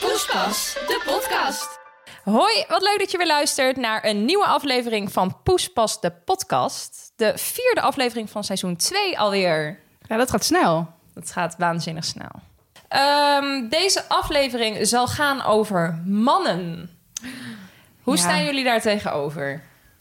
Poespas, de podcast. Hoi, wat leuk dat je weer luistert naar een nieuwe aflevering van Poespas de podcast. De vierde aflevering van seizoen 2 alweer. Ja, dat gaat snel. Dat gaat waanzinnig snel. Ehm, deze aflevering zal gaan over mannen. Hoe Ja. staan jullie daar tegenover?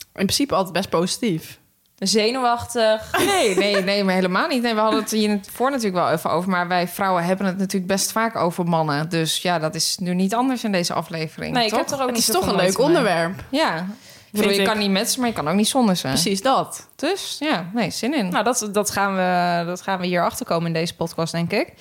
In principe altijd best positief. Zenuwachtig? Nee, nee, nee, maar helemaal niet. Nee, we hadden het hier in het voor natuurlijk wel even over. Maar wij vrouwen hebben het natuurlijk best vaak over mannen. Dus ja, dat is nu niet anders in deze aflevering. Nee, ik toch? heb er ook Het niet is toch zoveel een moeite leuk mee. onderwerp. Ja. Ik bedoel, je ik. kan niet met ze, maar je kan ook niet zonder ze. Precies dat. Dus ja, nee, zin in. Nou, dat, dat, gaan we, dat gaan we hier achterkomen in deze podcast, denk ik.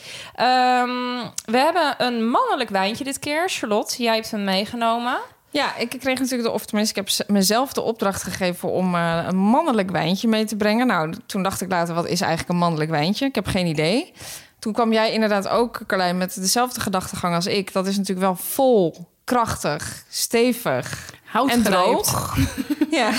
Ehm, we hebben een mannelijk wijntje dit keer. Charlotte, jij hebt hem meegenomen. Ja, ik kreeg natuurlijk de, of tenminste, ik heb z- mezelf de opdracht gegeven om eh, een mannelijk wijntje mee te brengen. Nou, toen dacht ik later, wat is eigenlijk een mannelijk wijntje? Ik heb geen idee. Toen kwam jij inderdaad ook, Carlijn, met dezelfde gedachtegang als ik. Dat is natuurlijk wel vol, krachtig, stevig. Houtgreep. En droog. ja.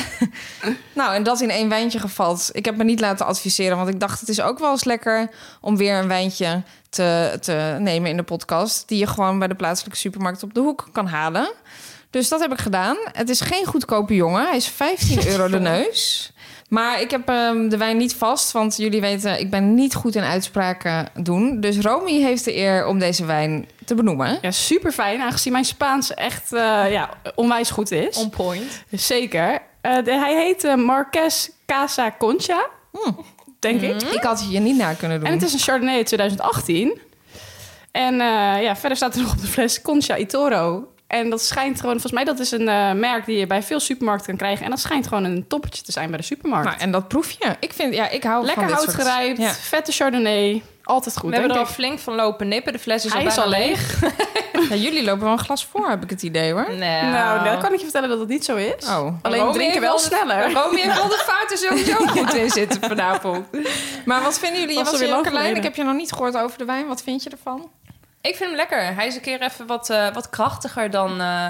Nou, en dat in één wijntje gevalt. Ik heb me niet laten adviseren, want ik dacht het is ook wel eens lekker om weer een wijntje te, te nemen in de podcast. Die je gewoon bij de plaatselijke supermarkt op de hoek kan halen. Dus dat heb ik gedaan. Het is geen goedkope jongen. Hij is 15 euro de neus. Maar ik heb ehm, de wijn niet vast, want jullie weten, ik ben niet goed in uitspraken doen. Dus Romy heeft de eer om deze wijn te benoemen. Ja, super fijn, aangezien mijn Spaans echt eh, ja, onwijs goed is. point. Zeker. Eh, de- hij heet eh, Marques Casa Concha, Hmm. denk ik. Ik had hier niet naar kunnen doen. En het is een Chardonnay uit 2018. En eh, ja, verder staat er nog op de fles Concha Itoro. En dat schijnt gewoon, volgens mij, dat is een eh, merk die je bij veel supermarkten kan krijgen. En dat schijnt gewoon een toppertje te zijn bij de supermarkt. Nou, en dat proef je. Ik vind, ja, ik hou Lekker van dit hout soort... gerijpt, Ja. vette Chardonnay. Altijd goed. we hebben er denk al flink van lopen nippen. De fles is Dus Hij al is bijna al leeg. Ja, jullie lopen wel een glas voor, heb ik het idee hoor. Nee. Nou, dan kan ik je vertellen dat dat niet zo is. Oh. Alleen Romy we drinken wel heeft wel de- sneller. Romy heeft wel de vaten sowieso goed in zitten vanavond. Maar wat vinden jullie? Je Was was alweer hier lang Carlijn, ik geleden. heb je nog niet gehoord over de wijn. Wat vind je ervan? Ik vind hem lekker. Hij is een keer even wat, eh, wat krachtiger dan, eh,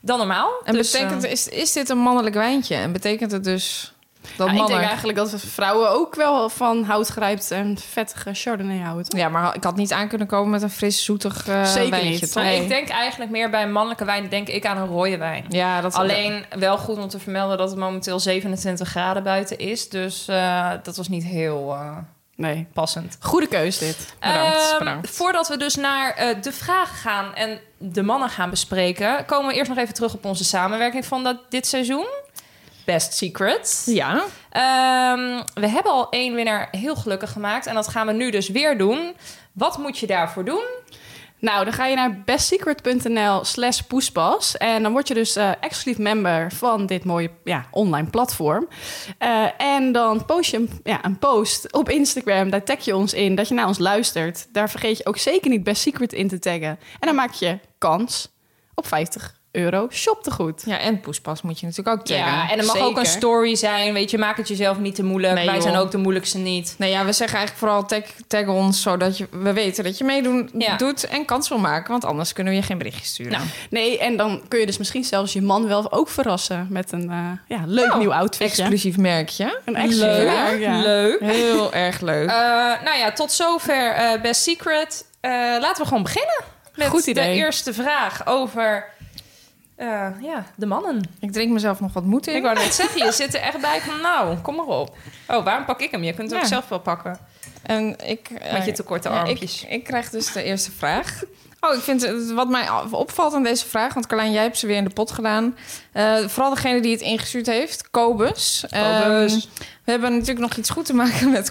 dan normaal. En Dus, betekent, eh, is, is dit een mannelijk wijntje? En betekent het dus dat Ja, ik mannen... denk eigenlijk dat vrouwen ook wel van houtgrijpt en vettige Chardonnay houden. toch? Ja, maar ik had niet aan kunnen komen met een fris, zoetig eh, Zeker wijntje. niet. toch? nou, Ik denk eigenlijk meer bij mannelijke wijn denk ik aan een rode wijn. Ja, dat Alleen wel goed om te vermelden dat het momenteel 27 graden buiten is. Dus eh, dat was niet heel eh, Nee. passend. Goede keus dit. Bedankt, Ehm, bedankt. Voordat we dus naar eh, de vragen gaan en de mannen gaan bespreken, komen we eerst nog even terug op onze samenwerking van dat, dit seizoen. Best Secrets. Ja. Ehm, we hebben al één winnaar heel gelukkig gemaakt. En dat gaan we nu dus weer doen. Wat moet je daarvoor doen? Nou, dan ga je naar bestsecret.nl slash poespas. En dan word je dus eh, exclusief member van dit mooie ja, online platform. Eh, en dan post je een, ja, een post op Instagram. Daar tag je ons in dat je naar ons luistert. Daar vergeet je ook zeker niet Best Secret in te taggen. En dan maak je kans op 50 euro shoptegoed. ja, en poespas moet je natuurlijk ook tegen. Ja, en er mag zeker. ook een story zijn. Weet je, maak het jezelf niet te moeilijk. Nee, Wij joh. zijn ook de moeilijkste niet. Nou ja, we zeggen eigenlijk vooral tag, tag ons, zodat je, we weten dat je meedoet Ja. doet en kans wil maken. Want anders kunnen we je geen berichtje sturen. Nou, Nee, en dan kun je dus misschien zelfs je man wel ook verrassen met een eh, ja, leuk Nou, nieuw outfitje. Exclusief merkje. Een exclusief Leuk, merk, ja. Leuk. Heel erg leuk. Eh, nou ja, tot zover eh, Best Secret. Eh, laten we gewoon beginnen met Goed idee. de eerste vraag over eh, ja, de mannen. ik drink mezelf nog wat moed in. Ik wou net zeggen, je zit er echt bij van nou, kom maar op. Oh, waarom pak ik hem? Je kunt het Ja. ook zelf wel pakken. En ik, eh, Met je te korte ja, armpjes. Ik, ik krijg dus de eerste vraag. Oh, ik vind het, wat mij af- opvalt aan deze vraag, want Carlijn, jij hebt ze weer in de pot gedaan. Eh, vooral degene die het ingestuurd heeft, Kobus. Kobus. Ehm, we hebben natuurlijk nog iets goed te maken met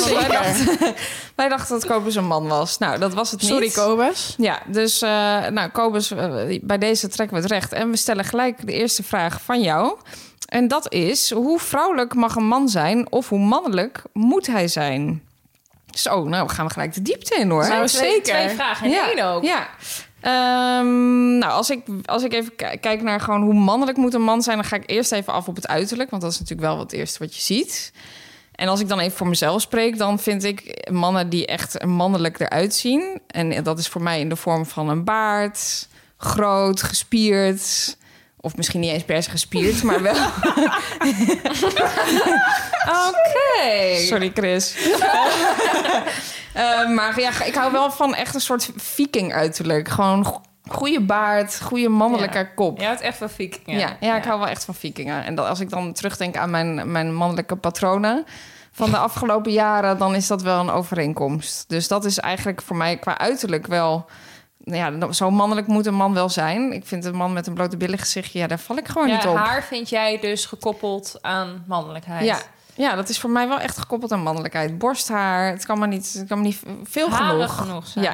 want Wij dachten, wij dachten dat Kobus een man was. Nou, dat was het Sorry, niet. Kobus. Ja, dus eh, nou, Kobus, eh, bij deze trekken we het recht. En we stellen gelijk de eerste vraag van jou. En dat is, hoe vrouwelijk mag een man zijn of hoe mannelijk moet hij zijn? Zo, nou gaan we gelijk de diepte in hoor. Zijn Nou, twee- zeker. Twee vragen in één ook. Ja. Ehm, nou, als ik, als ik even ki- kijk naar gewoon hoe mannelijk moet een man zijn... dan ga ik eerst even af op het uiterlijk. Want dat is natuurlijk wel het eerste wat je ziet. En als ik dan even voor mezelf spreek... dan vind ik mannen die echt mannelijk eruit zien... en dat is voor mij in de vorm van een baard... groot, gespierd... of misschien niet eens per se gespierd, maar wel... Oké. Sorry, Chris. Eh, maar ja, ik hou wel van echt een soort viking uiterlijk. Gewoon go- goede baard, goede mannelijke Ja. kop. Je houdt echt van viking. Ja. Ja, ik hou wel echt van vikingen. En dat, als ik dan terugdenk aan mijn, mijn mannelijke patronen van de afgelopen jaren, dan is dat wel een overeenkomst. Dus dat is eigenlijk voor mij qua uiterlijk wel. Nou ja, zo mannelijk moet een man wel zijn. Ik vind een man met een blote billen gezichtje, ja, daar val ik gewoon Ja, niet op. haar vind jij dus gekoppeld aan mannelijkheid. Ja, ja, dat is voor mij wel echt gekoppeld aan mannelijkheid. Borsthaar, het kan maar niet, het kan maar niet veel Haren genoeg. genoeg zijn. Ja.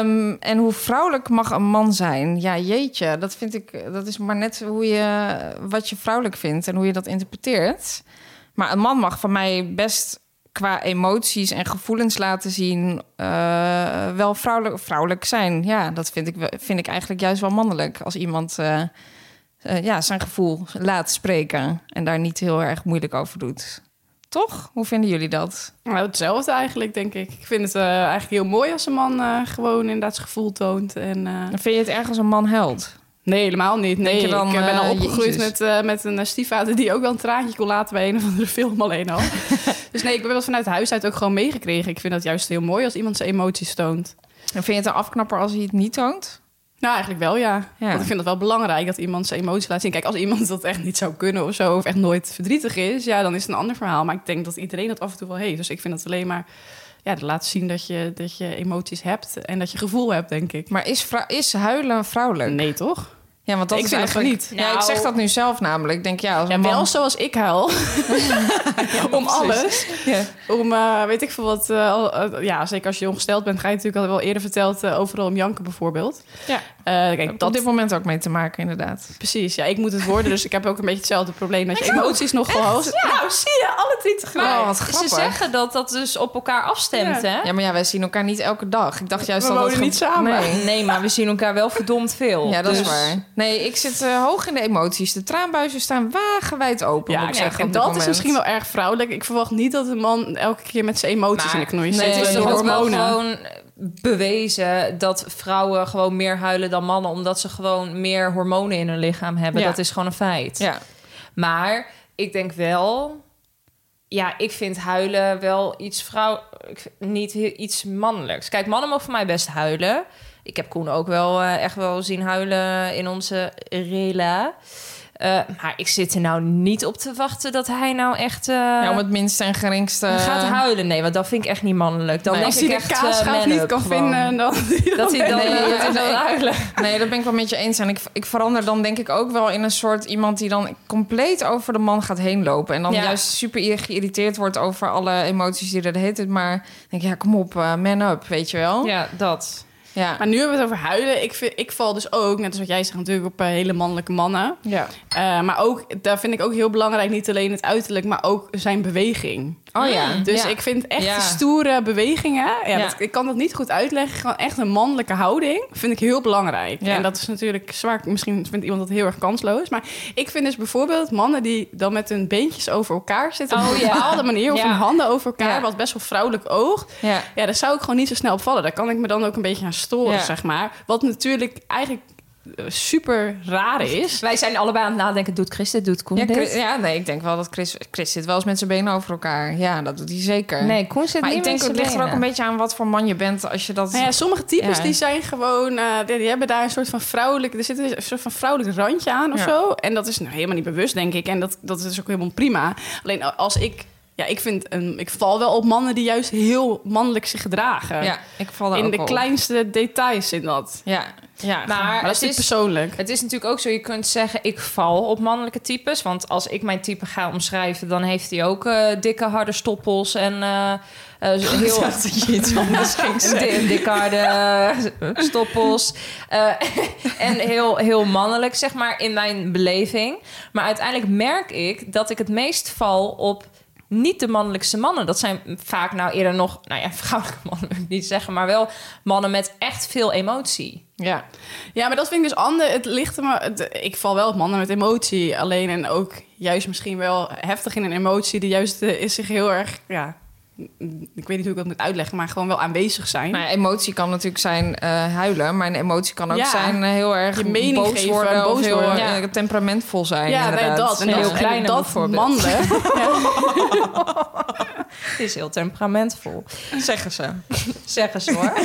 Ehm, en hoe vrouwelijk mag een man zijn? Ja, jeetje, dat vind ik. Dat is maar net hoe je wat je vrouwelijk vindt en hoe je dat interpreteert. Maar een man mag van mij best qua emoties en gevoelens laten zien eh, wel vrouwelijk, vrouwelijk zijn. Ja, dat vind ik, wel- vind ik eigenlijk juist wel mannelijk als iemand eh, eh, ja, zijn gevoel laat spreken en daar niet heel erg moeilijk over doet. Toch? Hoe vinden jullie dat? Nou, hetzelfde eigenlijk, denk ik. Ik vind het eh, eigenlijk heel mooi als een man eh, gewoon inderdaad zijn gevoel toont. En, eh, Vind je het erg als een man held? Nee, helemaal niet. Nee, je dan, ik eh, ben eh, al opgegroeid Jezus. met, eh, met een eh, stiefvader die ook wel een traantje kon laten bij een of andere film alleen al. dus nee, ik ben wel vanuit huis uit ook gewoon meegekregen. Ik vind dat juist heel mooi als iemand zijn emoties toont. En vind je het een afknapper als hij het niet toont? Nou, eigenlijk wel, ja. Ja. Want ik vind het wel belangrijk dat iemand zijn emoties laat zien. Kijk, als iemand dat echt niet zou kunnen of zo, of echt nooit verdrietig is, ja, dan is het een ander verhaal. Maar ik denk dat iedereen dat af en toe wel heeft. Dus ik vind het alleen maar, ja, dat laat zien dat je, dat je emoties hebt en dat je gevoel hebt, denk ik. Maar is, vrou- is huilen vrouwelijk? Nee, toch? Ja, want dat Ik is vind het eigenlijk niet. Ja, ik Nou. zeg dat nu zelf namelijk. Ik denk ja, als Ja, een man... wel zoals ik huil. Om alles. Ja. Om, eh, weet ik veel wat, eh, al- eh, ja, zeker als je ongesteld bent, ga je natuurlijk al wel eerder verteld eh, overal om janken bijvoorbeeld. Ja. Eh, kijk, Heb Op dat, dit moment ook mee te maken, inderdaad. precies, ja, ik moet het worden, dus ik heb ook een beetje hetzelfde probleem dat je emoties nog hoog. Nou, zie je, alle drie Maar tegelijk. Oh, wat Dus ze grappig. zeggen dat dat dus op elkaar afstemt, Ja. hè? Ja, maar ja, wij zien elkaar niet elke dag. Ik dacht juist We dat wonen dat ge- niet samen. Nee. Nee, maar we zien elkaar wel verdomd veel. Ja, dat is Dus- waar. Nee, ik zit eh, hoog in de emoties. De traanbuizen staan wagenwijd open, Ja, moet ik kijk, zeggen. en op dit dat is moment. misschien wel erg vrouwelijk. Ik verwacht niet dat een man elke keer met zijn emoties Maar- in de knoei Nee, zit. het is de toch ook wel hormonen. gewoon bewezen dat vrouwen gewoon meer huilen dan mannen, omdat ze gewoon meer hormonen in hun lichaam hebben. Ja. Dat is gewoon een feit. Ja. Maar ik denk wel, ja, ik vind huilen wel iets vrouw, ik vind niet he- iets mannelijks. Kijk, mannen mogen voor mij best huilen. Ik heb Koen ook wel eh, echt wel zien huilen in onze rela. Eh, maar ik zit er nou niet op te wachten dat hij nou echt. eh, Ja, om het minste en geringste... Gaat huilen? Nee, want dat vind ik echt niet mannelijk. Dan Nee. denk Als hij ik de echt eh, kaasschaaf man niet up kan gewoon. vinden, dan... Dat hij dan, Nee, eh, dat is dan ook- huilen. Nee, dat ben ik wel met je eens. En ik, ik verander dan denk ik ook wel in een soort iemand die dan compleet over de man gaat heen lopen. En dan Ja. juist super geïrriteerd wordt over alle emoties die er de hele tijd Maar denk ik, ja, kom op, eh, man up, weet je wel. Ja. Ja, dat. Ja. Maar nu hebben we het over huilen. Ik, vind, ik val dus ook, net als wat jij zegt, natuurlijk op eh, hele mannelijke mannen. Eh, maar ook, daar vind ik ook heel belangrijk, niet alleen het uiterlijk, maar ook zijn beweging. Oh ja. Dus Ja. ik vind echt Ja. stoere bewegingen, ja, Ja. dat- ik kan dat niet goed uitleggen, gewoon echt een mannelijke houding vind ik heel belangrijk. Ja. En dat is natuurlijk zwaar, misschien vindt iemand dat heel erg kansloos, maar ik vind dus bijvoorbeeld mannen die dan met hun beentjes over elkaar zitten op Oh, een ja. bepaalde manier, of Ja. hun handen over elkaar, Ja. wat best wel vrouwelijk oogt, Ja. ja, daar zou ik gewoon niet zo snel op vallen. Daar kan ik me dan ook een beetje aan storen, Ja. zeg maar. Wat natuurlijk eigenlijk eh, super raar is. Wij zijn allebei aan het nadenken. Doet Chris dit? Doet Koen Ja, dit? Chris- ja, nee, ik denk wel dat Chris, Chris zit wel eens met zijn benen over elkaar. Ja, dat doet hij zeker. Nee, Koen zit maar niet ik denk, met het zijn ligt er ook benen. een beetje aan wat voor man je bent als je dat... Nou ja, sommige types Ja. die zijn gewoon, eh, die, die hebben daar een soort van vrouwelijk, er zit een soort van vrouwelijk randje aan of Ja. zo. En dat is nou helemaal niet bewust, denk ik. En dat, dat is ook helemaal prima. Alleen als ik, ja, ik vind, een, ik val wel op mannen die juist heel mannelijk zich gedragen. Ja, ik val daar in ook de op. kleinste details in dat. Ja, ja. Maar, Maar dat is het, is, natuurlijk persoonlijk. het is natuurlijk ook zo. Je kunt zeggen, ik val op mannelijke types. Want als ik mijn type ga omschrijven... dan heeft hij ook eh, dikke, harde stoppels. En eh, eh, heel... dat je iets anders ging Een di- dikke, harde stoppels. Eh, en heel, heel mannelijk, zeg maar, in mijn beleving. Maar uiteindelijk merk ik dat ik het meest val op niet de mannelijkste mannen. Dat zijn vaak nou eerder nog, nou ja, vrouwelijke mannen wil ik niet zeggen, maar wel mannen met echt veel emotie. Ja. ja, maar dat vind ik dus anders. Het ligt er maar. het- ik val wel op mannen met emotie. Alleen en ook juist misschien wel heftig in een emotie. Die juist eh, is zich heel erg. Ja, mm, ik weet niet hoe ik dat moet uitleggen, maar gewoon wel aanwezig zijn. Maar Nou, emotie kan natuurlijk zijn eh, huilen, maar een emotie kan ook Ja. zijn eh, heel Je erg mening boos geven, worden of boos heel worden. eh, temperamentvol zijn. ja, nee, inderdaad. dat. En Heel dat, klein en dat bijvoorbeeld. mannelijk. Het is heel temperamentvol. zeggen ze. Zeggen ze hoor.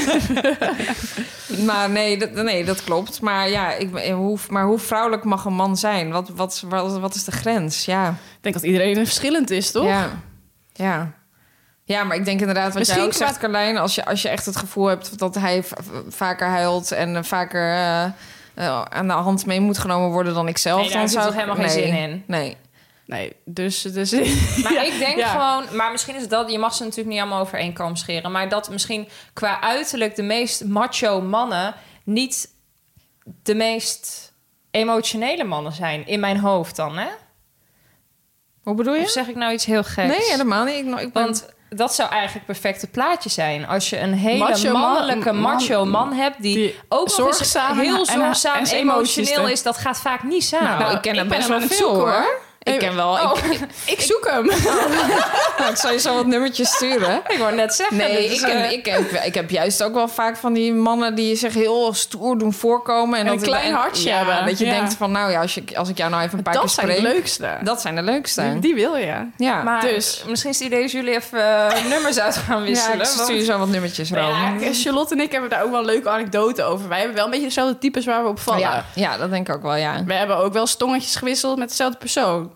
Maar nee, dat, nee, dat klopt. Maar ja, ik, eh, hoe, maar hoe vrouwelijk mag een man zijn? Wat, wat, wat, wat is de grens? Ja, ik denk dat iedereen er verschillend is, toch? ja, ja. Ja, maar ik denk inderdaad wat Misschien jij ook qua- zegt, Carlijn. Als je, als je echt het gevoel hebt dat hij v- v- vaker huilt en eh, vaker eh, eh, aan de hand mee moet genomen worden dan ik zelf, Nee, daar dan heb je zou toch ik- helemaal geen nee, zin in? Nee. Nee, dus. dus Maar ik denk Ja. gewoon, maar misschien is dat, je mag ze natuurlijk niet allemaal over één kam scheren, maar dat misschien qua uiterlijk de meest macho mannen niet de meest emotionele mannen zijn in mijn hoofd dan, hè? Hoe bedoel Of je? zeg ik nou iets heel geks? Nee, helemaal niet. Ik, ik ben- Want dat zou eigenlijk het perfecte plaatje zijn. Als je een hele Macho man- mannelijke man- macho man hebt... die, die ook nog eens zorgzaam heel en- zorgzaam en en zijn emoties emotioneel te- is... dat gaat vaak niet samen. Nou, ik ken ik hem ben best hem wel aan het veel zoeken, hoor. Ik ken wel. Oh, Ik, ik zoek hem. nou, ik zal je zo wat nummertjes sturen. ik wou net zeggen. Nee, dit dus, is, ik, ken- eh, ik, heb, ik heb juist ook wel vaak van die mannen die zich heel stoer doen voorkomen. En, En een dat- klein en- hartje ja, hebben. Dat je Ja. denkt van, nou ja, als, je, als ik jou nou even een paar Dat keer zijn spreek... de leukste. Dat zijn de leukste. die, die wil je. ja. maar dus. misschien is het idee dat jullie even eh, nummers uit gaan ja, wisselen. ik want- stuur je zo wat nummertjes, Ro. Ja, Charlotte en ik hebben daar ook wel een leuke anekdote over. Wij hebben wel een beetje dezelfde types waar we op vallen. ja, ja, dat denk ik ook wel, ja. We hebben ook wel stongetjes gewisseld met dezelfde persoon.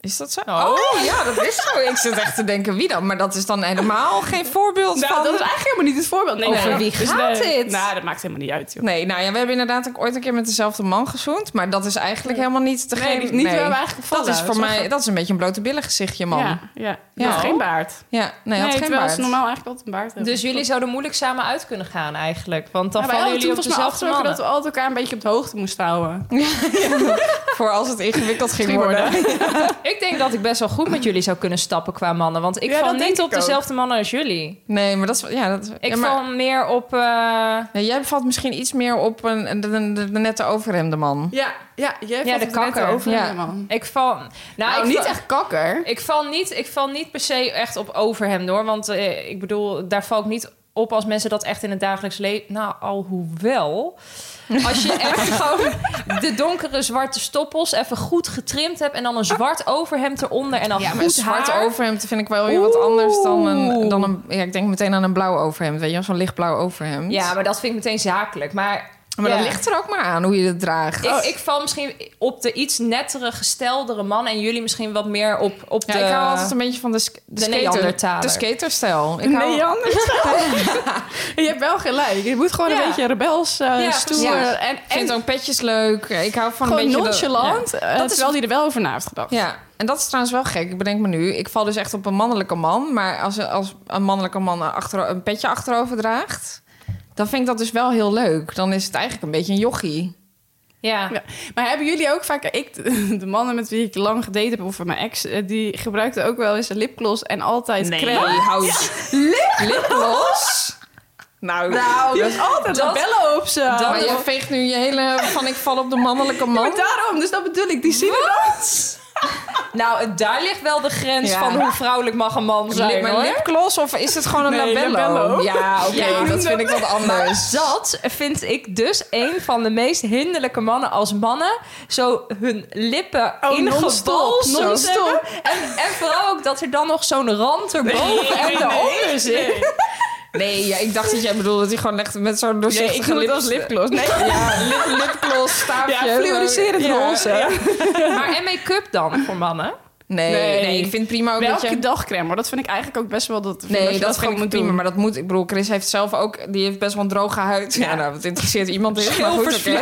Is dat zo? Oh, ja, dat is zo. Ik zit echt te denken, wie dan? Maar dat is dan helemaal geen voorbeeld Nou, van... dat is eigenlijk helemaal niet het voorbeeld. Nee, Over nee. wie gaat nee. dit? Nou, dat maakt helemaal niet uit, joh. Nee, nou ja, we hebben inderdaad ook ooit een keer met dezelfde man gezoend. Maar dat is eigenlijk helemaal niet degene... Nee, niet waar we eigenlijk Dat gevallen. is voor Zo mij... van- Dat is een beetje een blote billen gezichtje, man. Ja, Ja, ja. Ja. Had geen baard. nee, had geen terwijl baard. ze normaal eigenlijk altijd een baard hebben. Dus jullie zouden moeilijk samen uit kunnen gaan eigenlijk. Want dan Ja, wij vallen hadden jullie toen op volgens mij dezelfde afgesproken mannen. dat we altijd elkaar een beetje op de hoogte moesten houden. Voor als het ingewikkeld ging Ging worden. worden. Ik denk dat ik best wel goed met jullie zou kunnen stappen qua mannen. Want ik Ja, val dat denk niet op ik ook. dezelfde mannen als jullie. Nee, maar dat is... Ja, dat, Ik ja, maar, val meer op... eh, Ja, jij valt misschien iets meer op een, de, de, de, de nette overhemde man. Ja, ja. Ja, Jij valt de het net kakker. Over Ja. ja. man. Ik val. Nou, Nou, ik niet val- echt kakker. Ik val, niet, ik val niet per se echt op over hem hoor. Want eh, ik bedoel, daar val ik niet op als mensen dat echt in het dagelijks leven. Nou, alhoewel. Als je echt gewoon de donkere zwarte stoppels even goed getrimd hebt. en dan een zwart overhemd eronder. en dan Ja, maar een goed zwart haar. overhemd vind ik wel weer wat anders dan Oeh. een, dan een... Ja, ik denk meteen aan een blauw overhemd, weet je wel? Zo'n lichtblauw overhemd. Ja, maar dat vind ik meteen zakelijk. Maar. Maar ja. dat ligt er ook maar aan hoe je het draagt. Ik, ik val misschien op de iets nettere, gesteldere man. En jullie misschien wat meer op, op ja, de... ik hou altijd een beetje van de, sk- de, skater, Neandertaler. de skaterstijl. Ik hou- Nee, Jan. je hebt wel gelijk. Je moet gewoon Ja. een beetje rebels, eh, Ja, stoer. precies. En, Ik vind en ook petjes leuk. Ik hou van gewoon een beetje... de- nonchalant. eh, Dat is- terwijl hij er wel over na heeft gedacht. Ja, en dat is trouwens wel gek. Ik bedenk me nu, ik val dus echt op een mannelijke man. Maar als, als een mannelijke man een achter, een petje achterover draagt... dan vind ik dat dus wel heel leuk. Dan is het eigenlijk een beetje een jochie. Ja. Ja. Maar hebben jullie ook vaak... eh, Ik, de mannen met wie ik lang gedate heb, of mijn ex... eh, die gebruikten ook wel eens een lipgloss en altijd crème. houd lip, lipgloss. Nou, nou Dus altijd Dat- bellen op ze. maar je veegt nu je hele van ik val op de mannelijke man. maar daarom, dus dat bedoel ik. Die zien er Nou, en daar ligt wel de grens Ja. van hoe vrouwelijk mag een man zijn, Lip- maar hoor. lipgloss of is het gewoon een Nee, labello? labello. Ja, oké, Ja. dat vind ik wat anders. Dat vind ik dus een van de meest hinderlijke mannen als mannen. Zo hun lippen Oh, ingebalsemd non-stop, non-stop. hebben. En, en vooral ook dat er dan nog zo'n rand erboven en eronder zit. Nee, ja, ik dacht dat jij bedoelde dat hij gewoon echt met zo'n doorzichtige ik noem het als lipgloss. Nee. Ja, lip, lipgloss, staafje. Ja, fluoriserend Ja. roze. Maar en make-up dan voor mannen? Nee, Nee. nee. ik vind prima ook Wel dat elke je... dag crème, hoor. Dat vind ik eigenlijk ook best wel... Dat, vind Nee, dat, dat, je dat vind gewoon ik moet prima, doen. maar dat moet... Ik bedoel, Chris heeft zelf ook... Die heeft best wel een droge huid. Ja, nou, wat interesseert iemand is. Maar goed, oké.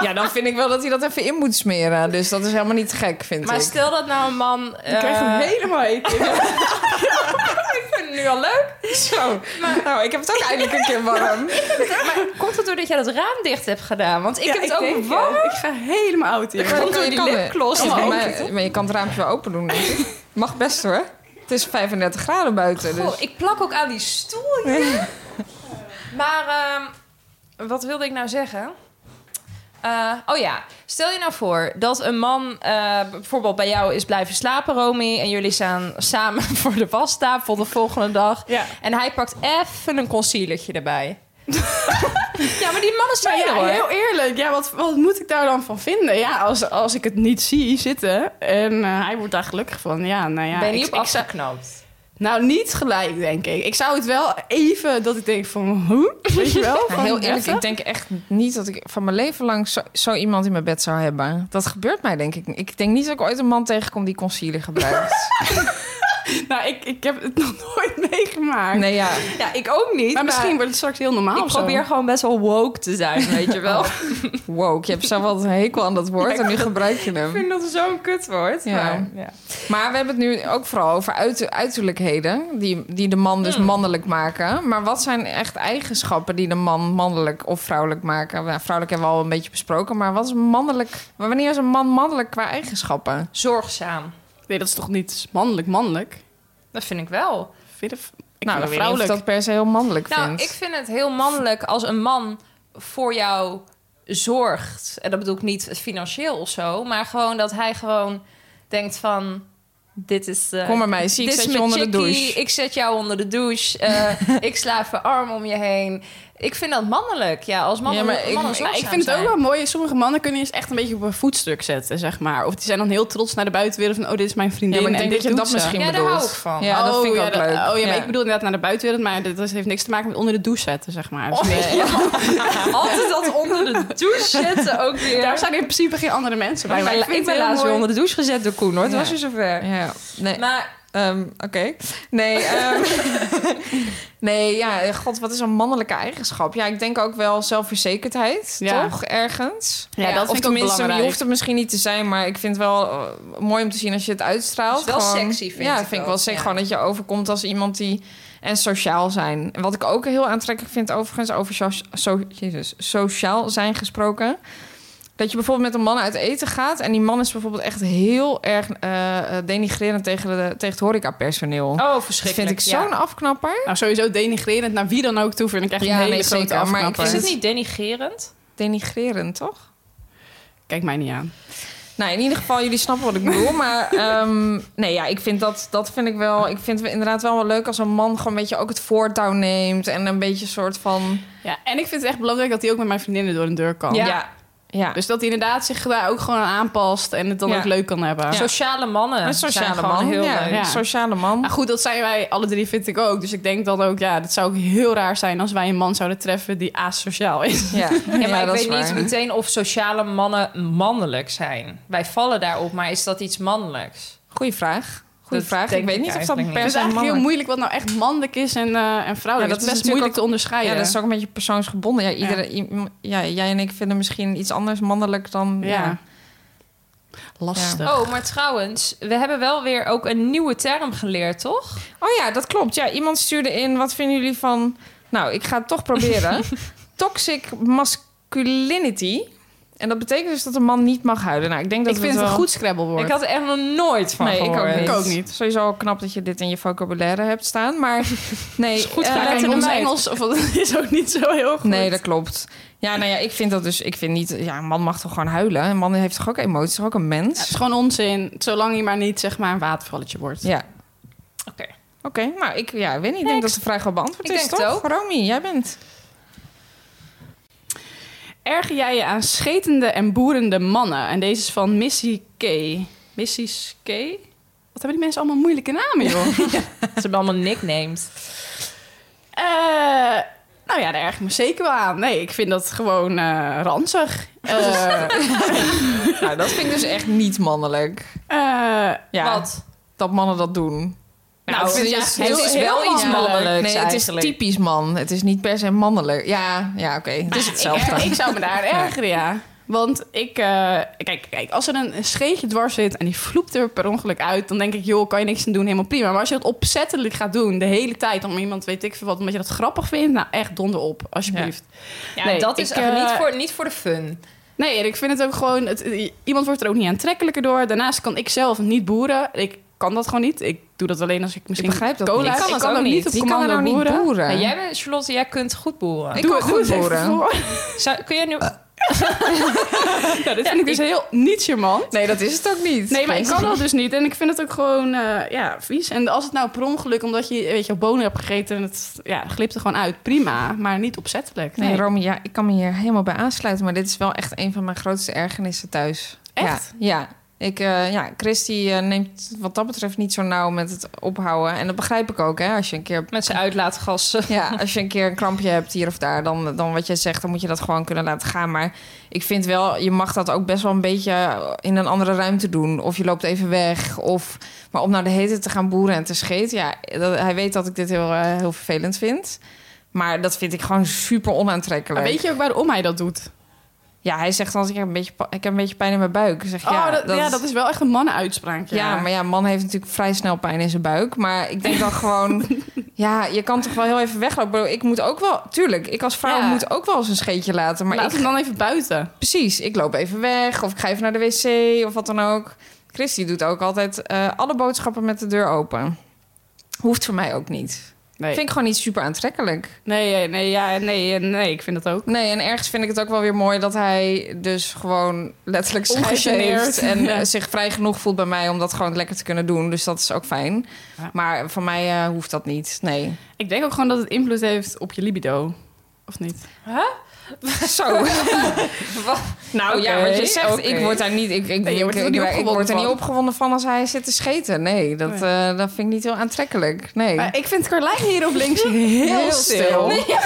Ja, dan vind ik wel dat hij dat even in moet smeren. Dus dat is helemaal niet gek, vind Maar ik. stel dat nou een man... eh, Ik krijg hem helemaal heet. ik vind het nu al leuk. Zo, nou, ik heb het ook eindelijk een keer warm. Maar komt het doordat jij dat raam dicht hebt gedaan? Want ik Ja, heb het ook denk, warm. eh, Ik ga helemaal oud hier. Komt door die kan- lipgloss. Ja, Oh, maar, maar je kan het raampje wel open doen. denk ik. Mag best hoor. Het is 35 graden buiten. Dus. Goh, ik plak ook aan die stoel hier. Maar ehm, wat wilde ik nou zeggen? Eh, oh ja, stel je nou voor dat een man eh, bijvoorbeeld bij jou is blijven slapen, Romy. En jullie staan samen voor de wastafel de volgende dag. Ja. En hij pakt even een concealertje erbij. ja, maar die mannen Maar zijn er ja, hoor. heel eerlijk. Ja, wat, wat moet ik daar dan van vinden? Ja, als, als ik het niet zie zitten en eh, hij wordt daar gelukkig van. Ja, nou ja. ben je niet ik, op ik zou- afgeknoopt? Nou, niet gelijk, denk ik. Ik zou het wel even dat ik denk van, hoe? Weet je wel? Nou, van, heel eerlijk, even? ik denk echt niet dat ik van mijn leven lang zo, zo iemand in mijn bed zou hebben. Dat gebeurt mij denk ik. niet. Ik denk niet dat ik ooit een man tegenkom die concealer gebruikt. Nou, ik, ik heb het nog nooit meegemaakt. nee, ja. Ja, ik ook niet. Maar misschien wordt het straks heel normaal Ik of zo. probeer gewoon best wel woke te zijn, weet je wel. Wow, je hebt zelf wel een hekel aan dat woord en nu gebruik je hem. dat het zo'n kutwoord. Ja. maar, ja. Maar we hebben het nu ook vooral over uiter- uiterlijkheden. Die, die de man Mm. dus mannelijk maken. Maar wat zijn echt eigenschappen die de man mannelijk of vrouwelijk maken? Nou, vrouwelijk hebben we al een beetje besproken. Maar wat is mannelijk? Wanneer is een man mannelijk qua eigenschappen? Nou, Zorgzaam. Nee, dat is toch niet mannelijk, mannelijk? Dat vind ik wel. Vind je dat- ik vind dat nou, dan weet ik of vrouwelijk. dat per se heel mannelijk Nou, vindt. ik vind het heel mannelijk als een man voor jou zorgt. En dat bedoel ik niet financieel of zo, maar gewoon dat hij gewoon denkt van. Dit is. eh, Kom maar meisje, ik dit is zet je mijn onder de chickie, douche. Ik zet jou onder de douche. eh, ik slaaf een arm om je heen. Ik vind dat mannelijk. Ja, als mannen. Ja, maar mannen ik- nou, Nou, zorgzaam ik vind het ook zijn. wel mooi. Sommige mannen kunnen je echt een beetje op een voetstuk zetten, zeg maar. Of die zijn dan heel trots naar de buitenwereld van... oh, dit is mijn vriendin Ja, maar ik en denk dit dat je doet dat ze. misschien Ja, daar bedoelt. hou ik van. Ja, dat Oh, vind ik ja, ook dat- leuk. Oh ja, maar Ja. ik bedoel inderdaad naar de buitenwereld... maar dat, dat heeft niks te maken met onder de douche zetten, zeg maar. Oh, Dus nee. Altijd dat onder de douche zetten ook weer. Daar zijn in principe geen andere mensen bij. Maar Maar ik ik vind ben het heel laatst weer mooi. onder de douche gezet door Koen hoor. Oh, Het Ja. was weer zover. Nou, Ja, nee. Maar Ehm, Oké. Nee, ehm, nee, ja, god, wat is een mannelijke eigenschap? Ja, ik denk ook wel zelfverzekerdheid, Ja. toch? Ergens. Ja, dat of vind ik ook tenminste, belangrijk. je hoeft het misschien niet te zijn, maar ik vind het wel eh, mooi om te zien als je het uitstraalt. Is wel sexy, vind ja, ik Ja, vind ik ook, wel sexy. ja. Gewoon dat je overkomt als iemand die... En sociaal zijn. En Wat ik ook heel aantrekkelijk vind, overigens, over so so- Jezus, sociaal zijn gesproken. Dat je bijvoorbeeld met een man uit eten gaat... en die man is bijvoorbeeld echt heel erg eh, eh, denigrerend tegen, de, tegen het horecapersoneel. oh, dat vind verschrikkelijk. ik ja. zo'n afknapper. Nou, sowieso denigrerend naar wie dan ook toe vind ik echt Ja, een hele nee, grote zeker, maar ik afknapper. Is het Punt. niet denigerend? Denigrerend, toch? Kijk mij niet aan. Nou, in ieder geval, jullie snappen wat ik bedoel. Maar ehm, nee, ja, ik vind dat, dat vind ik wel... Ik vind het inderdaad wel wel leuk als een man gewoon een beetje ook het voortouw neemt... en een beetje een soort van... Ja, en ik vind het echt belangrijk dat hij ook met mijn vriendinnen door een deur kan. Oh. Ja. ja. Dus dat hij inderdaad zich daar ook gewoon aan aanpast en het dan Ja. ook leuk kan hebben. Ja. Sociale mannen. Een zijn sociale gewoon man. eh, Heel ja, leuk. Ja. sociale man. Nou goed, dat zijn wij alle drie, vind ik ook. Dus ik denk dan ook, ja, dat zou ook heel raar zijn als wij een man zouden treffen die asociaal is. Ja, Ja, maar Ja, dat ik is weet niet waar. meteen of sociale mannen mannelijk zijn. Wij vallen daarop, maar is dat iets mannelijks? Goeie vraag. Goeie Dat vraag. denk Ik weet ik niet of dat eigenlijk per Het is se eigenlijk heel mannelijk moeilijk wat nou echt mannelijk is en, eh, en vrouwelijk. dat is Ja, best natuurlijk moeilijk ook- te onderscheiden. Ja, dat is ook een beetje persoonsgebonden. Ja, iedere, i- ja, jij en ik vinden misschien iets anders mannelijk dan... Ja. Ja. Lastig. Oh, maar trouwens, we hebben wel weer ook een nieuwe term geleerd, toch? Oh ja, dat klopt. Ja, iemand stuurde in, wat vinden jullie van... Nou, ik ga het toch proberen. Toxic masculinity. En dat betekent dus dat een man niet mag huilen. Nou, ik denk dat ik we vind het wel... een goed scrabble woord. Ik had er echt nog nooit van Nee, ik ook, gehoord. niet. Ik ook niet. Sowieso al knap dat je dit in je vocabulaire hebt staan. Maar nee, goed eh, vraag. letter ons erbij. Engels of, dat is ook niet zo heel goed. Nee, dat klopt. Ja, nou ja, ik vind dat dus... Ik vind niet... Ja, een man mag toch gewoon huilen? Een man heeft toch ook emoties? Toch ook een Ja, het mens? is gewoon onzin, zolang je maar niet zeg maar een watervalletje wordt. Ja. Oké. Oké, nou, ik ja, weet niet. Ik denk dat de vraag wel beantwoord Ik is, denk het toch? Romy, jij bent... Erger jij je aan schetende en boerende mannen? En deze is van Missy K. Missy's K? Wat hebben die mensen allemaal moeilijke namen, joh? Ze hebben allemaal nicknames. Eh, nou ja, daar erg ik me zeker wel aan. Nee, ik vind dat gewoon eh, ranzig. Eh, Nou, dat vind ik dus echt niet mannelijk. eh, Ja, Wat? dat mannen dat doen. Nou, het vind is, ik het heel- is heel wel iets mannelijk. mannelijk. mannelijks Nee, het is eigenlijk. typisch man. Het is niet per se mannelijk. Ja, ja oké. Het is hetzelfde. Ik, ik zou me daar aan ergeren, ja. Want ik, eh, kijk, kijk, als er een, een scheetje dwars zit en die vloept er per ongeluk uit, dan denk ik, joh, kan je niks aan doen, helemaal prima. Maar als je dat opzettelijk gaat doen, de hele tijd, om iemand, weet ik veel wat, omdat je dat grappig vindt, nou echt donder op, alsjeblieft. Ja, Nee, dat is ik, echt niet, eh, voor, niet voor de fun. Nee, en ik vind het ook gewoon, het, iemand wordt er ook niet aantrekkelijker door. Daarnaast kan ik zelf niet boeren. Ik kan dat gewoon niet. Ik doe dat alleen als ik misschien begrijp dat cola niet. heb. Ik kan Ik dat kan ook ook niet. niet op Wie kan er commando nou niet boeren. boeren? Nou, jij bent, Charlotte, jij kunt goed boeren. Ik Doe- doe kan goed het even boeren. voor. Zou, kun jij nu... Eh. Nou, dit vind ik dus heel niet charmant. Nee, dat is het ook niet. Nee, maar ik kan dat dus niet. En ik vind het ook gewoon eh, ja, vies. En als het nou per ongeluk, omdat je weet je, bonen hebt gegeten... en het ja, glipt er gewoon uit, prima. Maar niet opzettelijk. Nee, Nee. Romy, ja, ik kan me hier helemaal bij aansluiten. Maar dit is wel echt een van mijn grootste ergernissen thuis. Echt? Ja. ja. Ik, eh, ja, Christy eh, neemt wat dat betreft niet zo nauw met het ophouden. En dat begrijp ik ook, hè. Als je een keer, Met zijn uitlaatgassen. ja, als je een, keer een krampje hebt hier of daar, dan, dan wat jij zegt, dan moet je dat gewoon kunnen laten gaan. Maar ik vind wel, je mag dat ook best wel een beetje in een andere ruimte doen. Of je loopt even weg. Of, maar om nou de hete te gaan boeren en te scheten, ja, dat- hij weet dat ik dit heel, eh, heel vervelend vind. Maar dat vind ik gewoon super Maar onaantrekkelijk. weet je ook waarom hij dat doet? Ja, hij zegt altijd, ik heb een beetje, pa- ik heb een beetje pijn in mijn buik. Ik Zeg, ja, oh, dat, ja, dat is wel echt een mannenuitspraak. Ja, ja, maar ja, man heeft natuurlijk vrij snel pijn in zijn buik. Maar ik denk dan gewoon... Ja, je kan toch wel heel even weglopen. Ik bedoel, Ik moet ook wel... Tuurlijk, ik als vrouw Ja. moet ook wel eens een scheetje laten. Maar Laat ik, hem dan even buiten. precies, ik loop even weg. Of ik ga even naar de wc of wat dan ook. Christy doet ook altijd eh, alle boodschappen met de deur open. Hoeft voor mij ook niet. Nee, Vind ik gewoon niet super aantrekkelijk. nee, nee, nee, ja, nee, eh, nee, ik vind dat ook. Nee, en ergens vind ik het ook wel weer mooi dat hij dus gewoon letterlijk scheid Ongegeneerd. heeft en Ja. eh, zich vrij genoeg voelt bij mij om dat gewoon lekker te kunnen doen. Dus dat is ook fijn. Ja. Maar van mij eh, hoeft dat niet. Nee. Ik denk ook gewoon dat het invloed heeft op je libido. Of niet? Zo. nou ja, want je zegt, oké. ik word daar niet, ik, ik, Nee, je ik, wordt er ik- niet ik opgewonden word er niet van. opgewonden van als hij zit te scheten. Nee, dat, eh, dat vind ik niet heel aantrekkelijk. Nee. Maar Eh, ik vind Carlijn hier op links heel, stil. Nee, ja.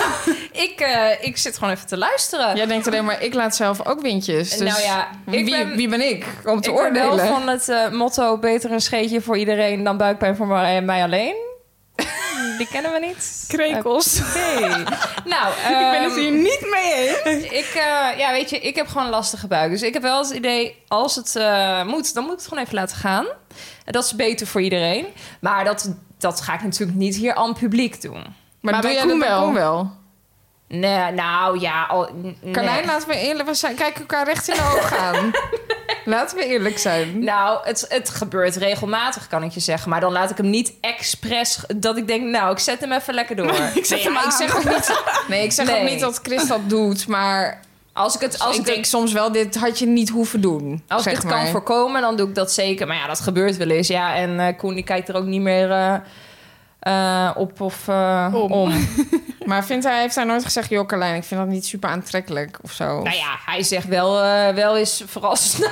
ik, eh, ik zit gewoon even te luisteren. Jij denkt alleen maar, ik laat zelf ook windjes. Dus Nou ja, ik wie, ben- wie ben ik om te ik ben oordelen? wel van het eh, motto... beter een scheetje voor iedereen dan buikpijn voor mij, mij alleen. Die kennen we niet. Krekels. Nee. nou, ik ben het ehm, hier niet mee eens. Ik, eh, ja, weet je, ik heb gewoon een lastige buik. Dus ik heb wel het idee, als het eh, moet, dan moet ik het gewoon even laten gaan. En Dat is beter voor iedereen. Maar dat, dat ga ik natuurlijk niet hier aan het publiek doen. Maar Maar, doe bij jij dat Koen bij wel? Koen wel? Nee, nou ja, al, n- nee. Carlijn, laten we eerlijk we zijn. Kijk elkaar recht in de ogen aan. Laten we eerlijk zijn. Nou, het, het gebeurt regelmatig, kan ik je zeggen. Maar dan laat ik hem niet expres... g- dat ik denk, nou, ik zet hem even lekker door. Ik zet hem Maar ik aan. zeg ook niet, nee, ik zeg ook Nee. niet dat Chris dat doet, maar Als ik het, als als ik, Dus ik denk soms wel, dit had je niet hoeven doen. Als zeg ik het maar. kan voorkomen, dan doe ik dat zeker. Maar ja, dat gebeurt wel eens. Ja, en eh, Koen die kijkt er ook niet meer eh, eh, op of eh, om. Om. Maar vindt hij, heeft hij nooit gezegd, joh Carlijn, ik vind dat niet super aantrekkelijk of zo? Nou ja, hij zegt wel, eh, wel eens vooral snel.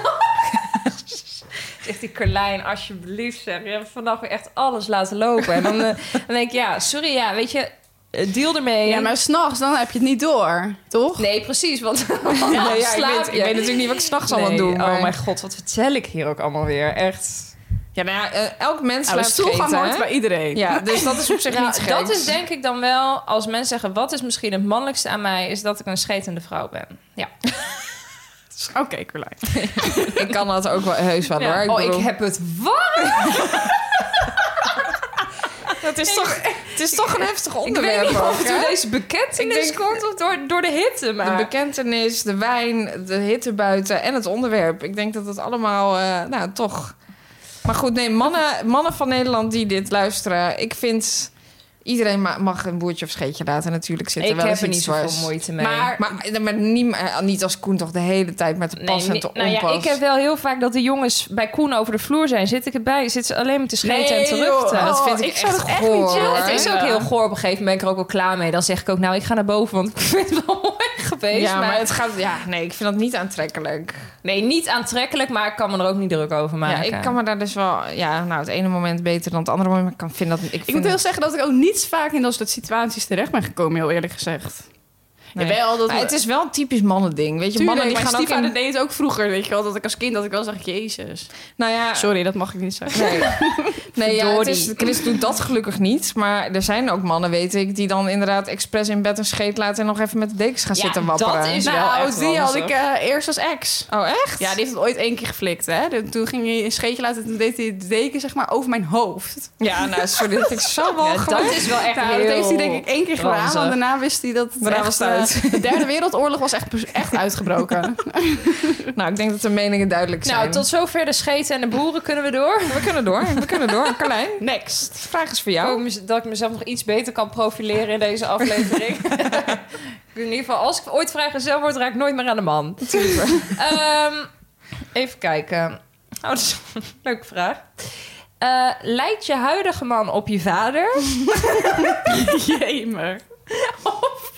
zegt die Carlijn, alsjeblieft zeg. Je hebt vandaag weer echt alles laten lopen. En dan, eh, dan denk ik, ja, sorry, ja, weet je, eh, deal ermee. Ja, maar s'nachts dan heb je het niet door, toch? Nee, precies, want ja, Ja, ja, ik, slaap weet, ik je. weet natuurlijk niet wat ik s'nachts allemaal Nee, doe. Maar... Oh mijn god, wat vertel ik hier ook allemaal weer? Echt. Ja, nou ja, eh, elk mens Nou, de laat stoelgang scheten, hoort hè? bij iedereen. Ja, dus dat is op zich Nou, niet gek. dat is denk ik dan wel, als mensen zeggen... wat is misschien het mannelijkste aan mij... is dat ik een schetende vrouw ben. Ja. Oké, Carlijn. Ik kan dat ook wel heus wel, hoor. oh, bedoel- ik heb het warm. Het is, toch, het is toch een heftig Ik onderwerp. weet niet of ook, het hè? door deze bekentenis Ik denk- komt... of door, door de hitte, maar... De bekentenis, de wijn, de hitte buiten en het onderwerp. Ik denk dat het allemaal, eh, nou toch. Maar goed, nee, mannen, mannen van Nederland die dit luisteren, ik vind iedereen ma- mag een boertje of scheetje laten. Natuurlijk zitten ik wel heb eens er niet iets zoveel dwars. moeite mee. Maar, maar, maar niet, maar niet als Koen toch de hele tijd met de Nee, pas en niet- te nou ja, onpas. ik heb wel heel vaak dat de jongens bij Koen over de vloer zijn. Zit ik erbij, zit ze alleen maar te scheten en te Nee, joh. ruchten. Oh, dat vind ik, ik zou echt dat echt niet goor. Ja, het hoor. is ook heel goor. Op een gegeven moment ben ik er ook al klaar mee. Dan zeg ik ook, nou, ik ga naar boven, want ik vind het wel mooi geweest. ja, maar het gaat. Ja, nee, ik vind dat niet aantrekkelijk. Nee, niet aantrekkelijk, maar ik kan me er ook niet druk over Ja, maken. ik kan me daar dus wel. Ja, nou, het ene moment beter dan het andere moment. Maar ik kan, vind dat. Ik, Ik vind moet wel zeggen dat ik ook niet vaak in dat soort situaties terecht ben gekomen, heel eerlijk gezegd. Nee. Jawel, dat Maar het is wel een typisch mannending. Weet je, Tuurlijk, mannen die mijn gaan ook stiefvader in- deed het ook vroeger, weet je wel, dat ik als kind dat ik wel zag, jezus. Nou ja, Sorry, dat mag ik niet zeggen. Nee, nee ja, het Verdorie. is, Chris doet dat gelukkig niet. Maar er zijn ook mannen, weet ik, die dan inderdaad expres in bed een scheet laten... en nog even met de dekens gaan Ja, zitten dat wapperen. is wel Nou, echt die had dus ranzig. ik eh, eerst als ex. Oh, echt? Ja, die heeft het ooit één keer geflikt, hè. De- Toen ging hij een scheetje laten, toen deed hij de deken zeg maar over mijn hoofd. Ja, nou, sorry, dat vind ik zo wel Ja, dat is wel echt nou, heel... dat heeft hij denk ik één keer gedaan, ranzig. want daarna wist hij dat het Daarna echt, was het uit. uit. eh, de derde wereldoorlog was echt, pers- echt uitgebroken. Nou, ik denk dat de meningen duidelijk zijn. Nou, tot zover de scheten en de boeren kunnen we door. We kunnen door, we kunnen door. Carlijn, Next. de vraag is voor Ik jou. hoop mez- dat ik mezelf nog iets beter kan profileren in deze aflevering. in ieder geval, als ik ooit vrijgezel word, raak ik nooit meer aan de man. Ehm, even kijken. Oh, dat is een leuke vraag. Eh lijkt je huidige man op je vader? Jemer. Of,